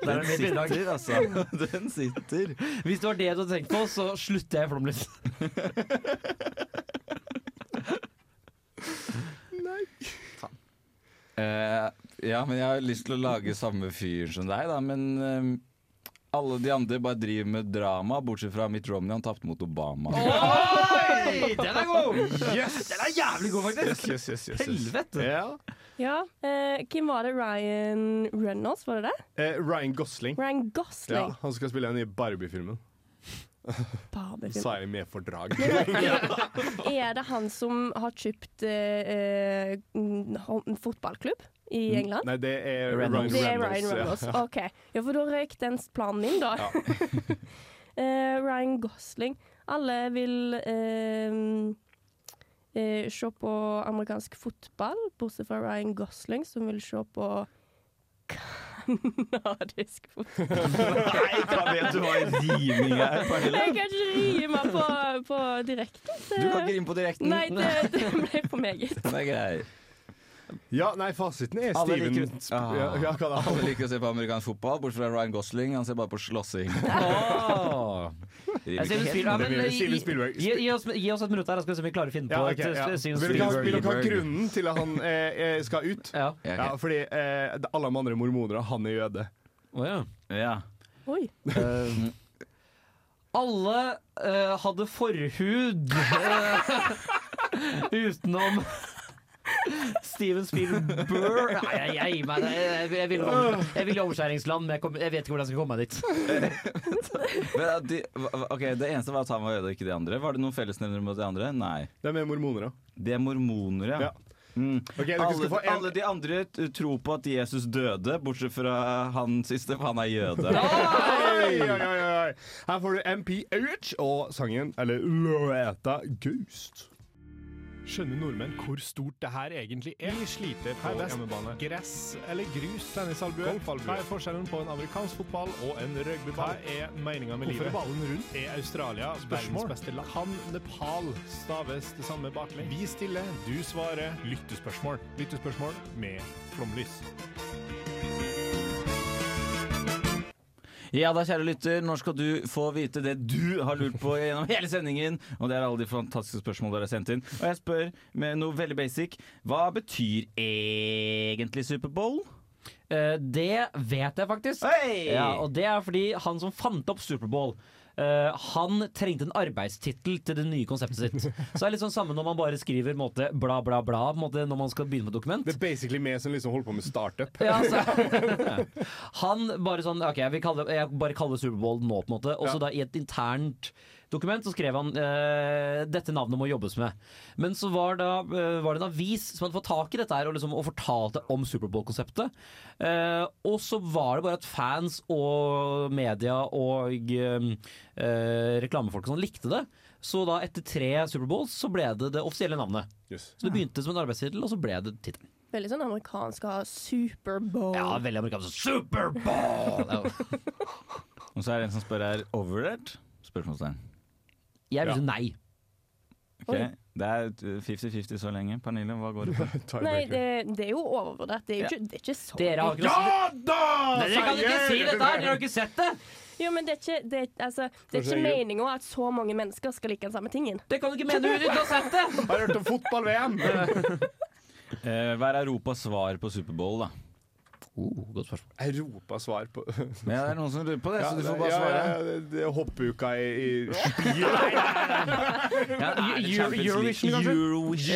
Speaker 5: Der er
Speaker 2: Den
Speaker 5: mitt bidrag.
Speaker 2: sitter, altså. (laughs) Den sitter.
Speaker 5: (laughs) Hvis det var det du hadde tenkt på, så slutter jeg i Flåmlys.
Speaker 2: Eh, ja, men jeg har lyst til å lage samme fyr som deg, da. Men eh, alle de andre bare driver med drama, bortsett fra Mitt Romney. Han tapte mot Obama. (laughs)
Speaker 5: Oi! (laughs) Den er god!
Speaker 4: Yes!
Speaker 5: Den er jævlig god, faktisk.
Speaker 4: Yes, yes, yes, yes, yes.
Speaker 5: Helvete.
Speaker 4: Ja.
Speaker 8: Ja. Eh, hvem var det? Ryan Reynolds, var det det?
Speaker 4: Eh, Ryan Gosling.
Speaker 8: Ryan
Speaker 4: Ja,
Speaker 8: Gosling.
Speaker 4: han skal spille den i Barbie-filmen.
Speaker 8: Barbie-film.
Speaker 4: Sa jeg med fordrag.
Speaker 8: Er det han som har kjøpt eh, eh, mm, hå- en fotballklubb i England?
Speaker 4: Mm. Nei, det er
Speaker 5: Reynolds.
Speaker 8: Det er
Speaker 4: Ryan
Speaker 8: Ryan
Speaker 4: Reynolds.
Speaker 8: Reynolds. OK. Ja, for da røyk den planen min, da. (laughs) Eh, Ryan Gosling. Alle vil eh, eh, se på amerikansk fotball, bortsett fra Ryan Gosling, som vil se på (laughs) kanadisk fotball.
Speaker 2: Nei, hva vet du hva riming
Speaker 8: (laughs)
Speaker 2: er, Pernille?
Speaker 8: Jeg kan ikke rime på, på direkten.
Speaker 2: Du kan ikke rime på direkten.
Speaker 8: Nei, det, det ble for meget.
Speaker 2: Den er grei.
Speaker 4: Ja. ja, nei, fasiten er
Speaker 2: Alle
Speaker 4: Steven
Speaker 2: liker-
Speaker 4: Sp- ja, ja, hva da?
Speaker 2: Alle liker å se på amerikansk fotball, bortsett fra Ryan Gosling. Han ser bare på slåssing.
Speaker 5: Åh. Jeg sier du spiller, ja,
Speaker 4: Det blir
Speaker 5: men,
Speaker 4: Steven
Speaker 5: gi,
Speaker 4: Spielberg.
Speaker 5: gi, gi, oss, gi oss et minutt her, da skal vi se om vi klarer å finne på
Speaker 4: Ja, ok,
Speaker 5: et
Speaker 4: ja.
Speaker 5: eh, Steven
Speaker 4: Vil dere ha- vil
Speaker 5: Spielberg.
Speaker 4: dere ha grunnen til at han eh, eh, skal ut?
Speaker 5: Ja.
Speaker 2: Ja,
Speaker 4: Ja,
Speaker 2: ok.
Speaker 4: fordi eh, alle de andre mormonere, han er jøde.
Speaker 5: Å, ja.
Speaker 2: ja.
Speaker 8: Oi.
Speaker 5: Alle (laughs) eh, hadde forhud eh, utenom Steven Spielberg Nei, jeg, jeg gir meg. Jeg, jeg, vil, jeg vil i omskjæringsland, men jeg, kom, jeg vet ikke hvordan jeg skal komme meg dit.
Speaker 2: Men, ja, de, hva- ok, Det eneste var at han var jøde, ikke de andre. Var det noen fellesnevnere mot de andre? Nei.
Speaker 4: De er mormoner, da.
Speaker 2: De er mormoner, ja.
Speaker 4: Ja.
Speaker 2: Mm.
Speaker 4: Ok, dere skal
Speaker 2: Alle,
Speaker 4: få en-
Speaker 2: alle de andre t- tror på at Jesus døde, bortsett fra han siste, for han er jøde.
Speaker 4: Oi, oi, oi, oi. Her får du MP Aurich og sangen, eller Loeta Ghost.
Speaker 10: Skjønner nordmenn hvor stort det her egentlig er? Vi sliter på hjemmebane. Gress eller grus? Tennisalbue? Hva er forskjellen på en amerikansk fotball og en rugbyball? Hva er meninga med livet? Hvorfor ballen rundt? Er Australia verdens beste land? Kan Nepal staves det samme baklengs? Vi stiller, du svarer. Lyttespørsmål. Lyttespørsmål med flomlys.
Speaker 2: Ja da, kjære lytter, når skal du få vite det du har lurt på gjennom hele sendingen? Og det er alle de fantastiske spørsmål dere har sendt inn. Og jeg spør med noe veldig basic. Hva betyr egentlig Superbowl?
Speaker 5: Eh, det vet jeg faktisk.
Speaker 2: Hei!
Speaker 5: Ja, og det er fordi han som fant opp Superbowl eh, han trengte en arbeidstittel til det nye konseptet sitt. Så det er litt sånn samme når man bare skriver på en måte, bla, bla, bla på en måte, når man skal begynne med et dokument.
Speaker 4: Det er basically meg som liksom holder på med startup.
Speaker 5: (laughs) Ja, altså. (laughs) Han bare sånn Ok, jeg, vil kalle, det- jeg bare kaller det Superbowl nå, på en måte. Og så
Speaker 4: Ja.
Speaker 5: da i et internt dokument så skrev han eh, dette navnet må jobbes med. Men så var, da, eh, var det en avis som hadde fått tak i dette her og, liksom, og fortalte om Superbowl-konseptet. Eh, og så var det bare at fans og media og eh, eh, reklamefolk og sånn likte det. Så da etter tre Superbowls så ble det det offisielle navnet.
Speaker 4: (laughs) Yes.
Speaker 5: Så det begynte som en arbeidstittel, og så ble det tittelen.
Speaker 8: Veldig sånn amerikansk å ha Superbowl.
Speaker 5: Ja, veldig amerikansk. Superbowl!
Speaker 2: Og så er det en som spør her overrated? Spørsmålstegn.
Speaker 5: (laughs) Jeg vil si nei.
Speaker 2: Ok, Det er 50-50 så lenge. Pernille, hva går det på?
Speaker 8: Nei, det, det er jo overvurdert. Det er jo ikke, det er ikke så
Speaker 5: Dere har ikke
Speaker 4: Ja da!
Speaker 5: Nei, Dere kan ikke
Speaker 4: sier
Speaker 5: si dette her! Dere har
Speaker 4: jeg!
Speaker 5: ikke sett det!
Speaker 8: Jo, men det er ikke, det, er- altså, det er
Speaker 4: Kanskje
Speaker 8: ikke
Speaker 4: jeg-
Speaker 8: meninga at så mange mennesker skal like den samme tingen.
Speaker 5: Det kan du ikke mene uten å ha sett det!
Speaker 4: Har hørt om
Speaker 2: (laughs)
Speaker 4: fotball-VM?
Speaker 2: Eh, hva er Europas svar på Superbowl, da?
Speaker 5: Oh, godt spørsmål.
Speaker 4: Europas svar på
Speaker 2: Men det er noen som lurer på det, så du får bare
Speaker 4: ja,
Speaker 2: svare.
Speaker 4: ja, ja, det er Hoppuka i,
Speaker 2: (laughs)
Speaker 4: i
Speaker 5: Ja,
Speaker 2: Er det
Speaker 5: Euro-
Speaker 2: Champions
Speaker 5: Eurovision,
Speaker 2: League?
Speaker 5: kanskje?
Speaker 2: Eurovision.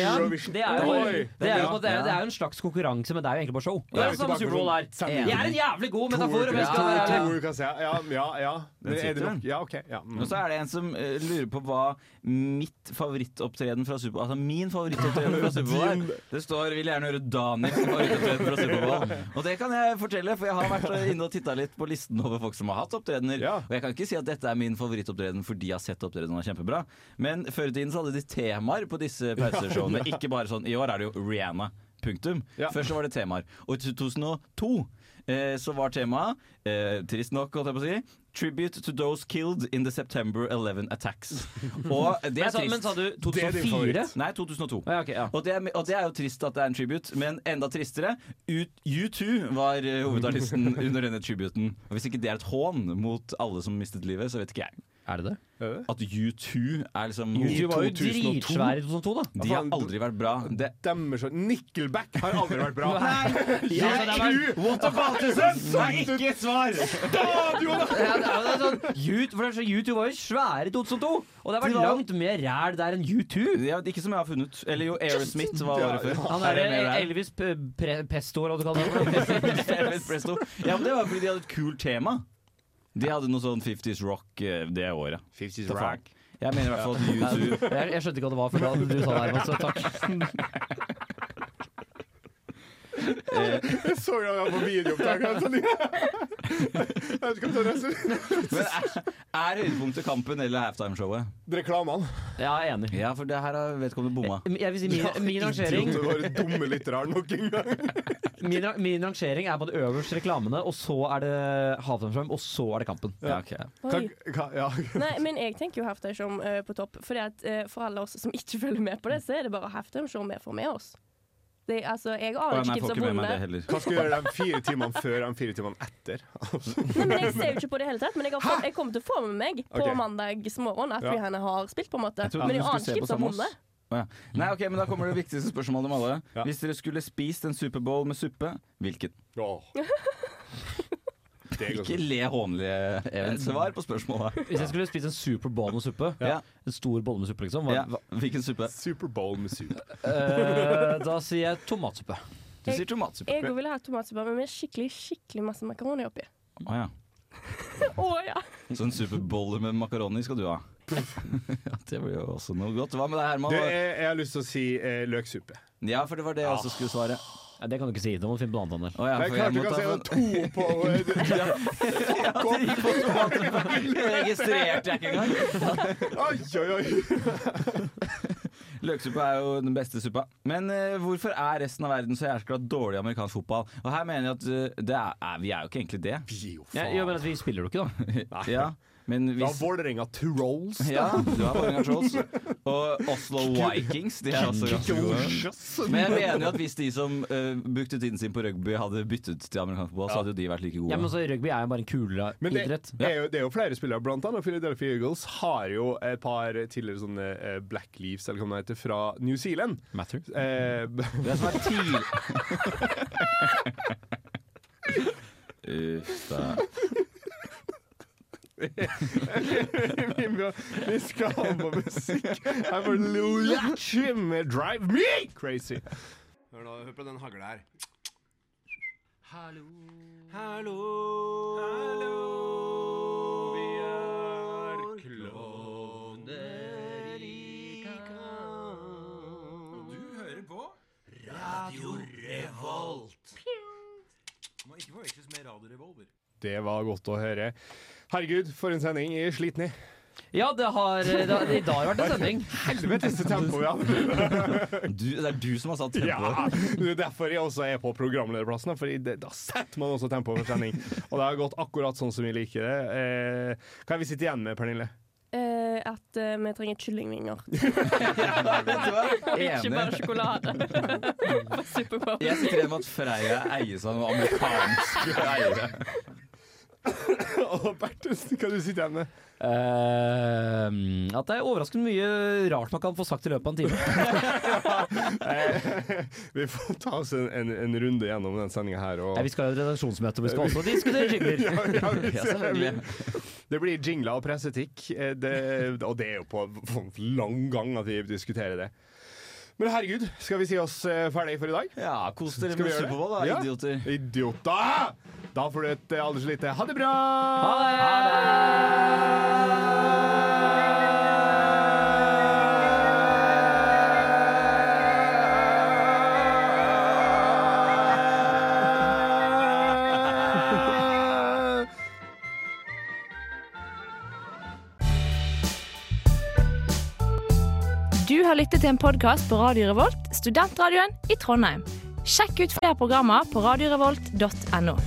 Speaker 5: Ja,
Speaker 4: altså. Eurovision.
Speaker 5: det er jo
Speaker 4: Oi!
Speaker 5: det er jo på en måte- det
Speaker 2: Ja.
Speaker 5: er jo en slags konkurranse, men det er jo egentlig bare show. Og
Speaker 4: Det er
Speaker 5: Det er jo
Speaker 4: jo
Speaker 5: samme
Speaker 4: tilbake
Speaker 5: Superbowl her.
Speaker 4: på sånn
Speaker 5: Det er en jævlig god metafor. om jeg skal være
Speaker 4: To
Speaker 5: ærlig.
Speaker 4: uker siden. Ja, ja. ja. Men er
Speaker 2: sitter,
Speaker 4: det
Speaker 2: den.
Speaker 4: nok? Ja, OK. Ja. mm.
Speaker 2: Og så er det en som eh, lurer på hva mitt favorittopptreden fra Superbowl Altså min favorittopptreden fra Superbowl
Speaker 4: Din.
Speaker 2: er. Det står 'Vil gjerne høre Daniels favorittopptreden fra Superbowl'. Og det kan jeg fortelle, for jeg har vært eh, inne og titta litt på listen over folk som har hatt opptredener.
Speaker 4: Ja.
Speaker 2: Og jeg kan ikke si at dette er min favorittopptreden fordi jeg har sett opptredenen var kjempebra. Men før i tiden så hadde de temaer på disse pauseshowene. Ikke bare sånn I år er det jo Rihanna. Punktum.
Speaker 4: Ja.
Speaker 2: Først så var det temaer. Og i 2002 eh, så var temaet, eh, trist nok, holdt jeg på å si, Tribute to those killed in the September 11
Speaker 5: (laughs)
Speaker 2: attacks. Og det
Speaker 5: Men
Speaker 2: er
Speaker 5: sa- Men
Speaker 2: trist.
Speaker 5: sa du
Speaker 4: Det er din
Speaker 5: 2004?
Speaker 4: favoritt.
Speaker 2: Nei, 2002.
Speaker 5: Ja, ok, ja.
Speaker 2: Og det, er, og det er jo trist at det er en tribute, men enda tristere U- U2 var eh,
Speaker 4: (laughs)
Speaker 2: hovedartisten under denne tributen. Og hvis ikke det er et hån mot alle som mistet livet, så vet ikke jeg.
Speaker 5: Er det det?
Speaker 4: Er det?
Speaker 2: At U2 er liksom
Speaker 5: Du var jo
Speaker 4: 2002.
Speaker 5: dritsvær i 2002, da.
Speaker 4: Altså,
Speaker 2: De har aldri vært bra. Det,
Speaker 4: Demmer så Nickelback har aldri vært
Speaker 2: (laughs)
Speaker 4: bra.
Speaker 5: Ja, altså, det er bare-
Speaker 2: what about this? Det er ikke et svar!
Speaker 5: Ja, det er jo det sånn, U- for det er sånn, U2 var jo svære i 2002, og det har
Speaker 2: De
Speaker 5: vært
Speaker 2: var-
Speaker 5: langt mer ræl der enn U2.
Speaker 2: Ja, ikke som jeg har funnet. Eller jo, Aerosmith var året før.
Speaker 5: Han er
Speaker 2: det mer der?
Speaker 5: Elvis P- Pre- Presto, eller hva du (laughs) kaller det.
Speaker 2: (laughs) Elvis Presto. Ja, men det var fordi de hadde et kult tema. De hadde noe sånn 50s rock eh, det året.
Speaker 4: 50s
Speaker 2: Ta faen. Jeg mener i hvert fall at U2
Speaker 5: Jeg, jeg skjønte ikke hva det var før da du sa det, Herman, så takk.
Speaker 4: Jeg (laughs) så jo han på videoopptakeren.
Speaker 2: (laughs)
Speaker 4: sånn. Jeg vet ikke om det er resten.
Speaker 2: Men er, er høydepunktet kampen eller halftimeshowet?
Speaker 4: Reklamene.
Speaker 5: Ja, jeg er enig.
Speaker 2: Ja, for det her har vedkommende bomma.
Speaker 5: Jeg vil si min, min, rangering,
Speaker 4: Idioter, bare dumme lyttere her nok en gang.
Speaker 5: min, ra- min rangering er på det øverste reklamene, og så er det Halvdagsfrem, og så er det kampen.
Speaker 2: Ja, ok.
Speaker 8: Oi.
Speaker 4: Kan- kan- ja.
Speaker 8: Nei, men jeg tenker jo halftime uh, på topp. Fordi at eh, For alle oss som ikke følger med på det, så er det bare halftime show vi får med oss. Det, altså, jeg
Speaker 2: Å,
Speaker 8: aner
Speaker 2: nei,
Speaker 8: ikke
Speaker 2: jeg
Speaker 8: hvem
Speaker 2: får
Speaker 8: som
Speaker 2: ikke med meg det
Speaker 8: vunnet.
Speaker 2: heller.
Speaker 4: Hva skal vi gjøre de fire timene før og de fire timene etter?
Speaker 8: Nei, men Jeg ser jo ikke på det hele tatt, men jeg, har fått, jeg kommer til å få med meg på
Speaker 4: Ok.
Speaker 8: mandags morgen at
Speaker 4: Ja.
Speaker 8: Rihanna har spilt, på en måte.
Speaker 2: Jeg trodde
Speaker 8: men
Speaker 2: du
Speaker 8: jeg
Speaker 2: skulle
Speaker 8: aner
Speaker 2: se
Speaker 8: ikke
Speaker 2: på
Speaker 8: hvem som
Speaker 2: sammen
Speaker 8: har
Speaker 2: med oss.
Speaker 8: vunnet.
Speaker 2: Å, ja. Nei, ok, men Da kommer det viktigste spørsmålet om alle.
Speaker 4: Ja. (laughs)
Speaker 2: Hvis dere skulle spist en Superbowl med suppe, hvilken?
Speaker 4: Åh. Det er
Speaker 2: Ikke le hånlig, Even. Eh, Svar på spørsmålet.
Speaker 5: Hvis jeg skulle spise en Super Bowl med suppe,
Speaker 2: Ja.
Speaker 5: en stor bolle med suppe, liksom, hva,
Speaker 2: Ja, hvilken suppe?
Speaker 4: Super Bowl med suppe.
Speaker 5: eh, da sier jeg tomatsuppe.
Speaker 2: Du sier tomatsuppe.
Speaker 8: Jeg òg ville ha tomatsuppe, men med skikkelig skikkelig masse makaroni oppi.
Speaker 2: Å ja.
Speaker 8: Å ja!
Speaker 2: Så en superbolle med makaroni skal du ha. (laughs) ja, det blir jo også noe godt. Hva med deg,
Speaker 4: Du,
Speaker 2: Herman?
Speaker 4: jeg, jeg har lyst til å si eh, løksuppe.
Speaker 2: Ja, for det var det jeg også skulle svare.
Speaker 5: Ja, det kan du ikke si. Da må du finne på noe annet. Daniel.
Speaker 2: Å ja,
Speaker 4: Jeg
Speaker 2: for jeg
Speaker 4: klarte
Speaker 2: må
Speaker 4: ikke å
Speaker 2: ta sånn-
Speaker 4: si
Speaker 2: for-
Speaker 4: det to på eh,
Speaker 2: (laughs) Registrerte (laughs) jeg ikke engang.
Speaker 4: Oi, oi, oi!
Speaker 2: Løksuppe er jo den beste suppa. Men eh, hvorfor er resten av verden så jæskla dårlig i amerikansk fotball? Og her mener jeg at eh, det er, er, vi er jo ikke egentlig det.
Speaker 5: Ja, jo, men at vi spiller jo ikke, da.
Speaker 2: Ja, men
Speaker 4: Da
Speaker 2: hvis
Speaker 4: Vålerenga Trolls.
Speaker 2: ja, du har Vålerenga Trolls. Og Oslo Vikings. De er også ganske gode. Men jeg mener jo at hvis de som eh, brukte tiden sin på rugby, hadde byttet til amerikansk fotball, så hadde jo de vært like gode.
Speaker 5: Ja, men så Rugby er jo bare en kulere
Speaker 4: Men det,
Speaker 5: idrett.
Speaker 4: er jo, det er jo flere spillere, blant annet Philadelphia Eagles har jo et par tidligere sånne eh, Black Leaves eller hva det heter, fra New Zealand.
Speaker 5: Matter.
Speaker 4: Eh,
Speaker 2: Det som er tidlig Uff da.
Speaker 4: vi, må- vi skal ha på musikk. Her får Lulachi med 'Drive Me Crazy'.
Speaker 11: Hør, nå, hør på den hagla her.
Speaker 4: Det var godt å høre. Herregud, for en sending. Jeg er sliten, jeg.
Speaker 5: Ja, det har, det har i dag har vært en
Speaker 4: (laughs)
Speaker 5: sending.
Speaker 4: Helvetes tempo, ja.
Speaker 2: Du, det er du som har satt tempoet.
Speaker 4: Ja, det er derfor jeg også er på programlederplassen, for da setter man også tempoet for sending. Og det har gått akkurat sånn som vi liker det. Eh, hva er vi sitter igjen med, (laughs) Pernille?
Speaker 8: Eh, at eh, vi trenger kyllingvinger.
Speaker 2: Enig.
Speaker 6: Ikke bare sjokolade. På Superbowl.
Speaker 2: Jeg sitter igjen med at Freia eies av noen amerikanske eiere.
Speaker 4: Og Bertus, hva du sitter igjen med?
Speaker 5: Eh, at det er overraskende mye rart man kan få sagt i løpet av en time.
Speaker 4: Eh, (laughs) vi får ta oss en, en, en runde gjennom den sendinga her. Og
Speaker 5: Nei, vi skal ha et redaksjonsmøte, og vi skal
Speaker 4: (laughs)
Speaker 5: også diskutere jingler.
Speaker 4: ja, (laughs) ja, vi
Speaker 2: Ja,
Speaker 4: ser-
Speaker 2: selvfølgelig.
Speaker 4: det blir jingler og pressetikk, eh, det, og det er jo på sånn lang gang at vi diskuterer det. Men herregud, skal vi si oss eh, ferdig for i dag?
Speaker 2: Ja, kos dere
Speaker 4: Skal vi
Speaker 2: med
Speaker 4: gjøre det?
Speaker 2: Superbowl, da,
Speaker 4: Ja.
Speaker 2: idioter.
Speaker 4: Idioter! Da får du et eh, aldri så lite ha det bra! (laughs)
Speaker 12: Du har lyttet til en podkast på Radio Revolt, studentradioen i Trondheim. Sjekk ut flere programmer på radiorevolt.no.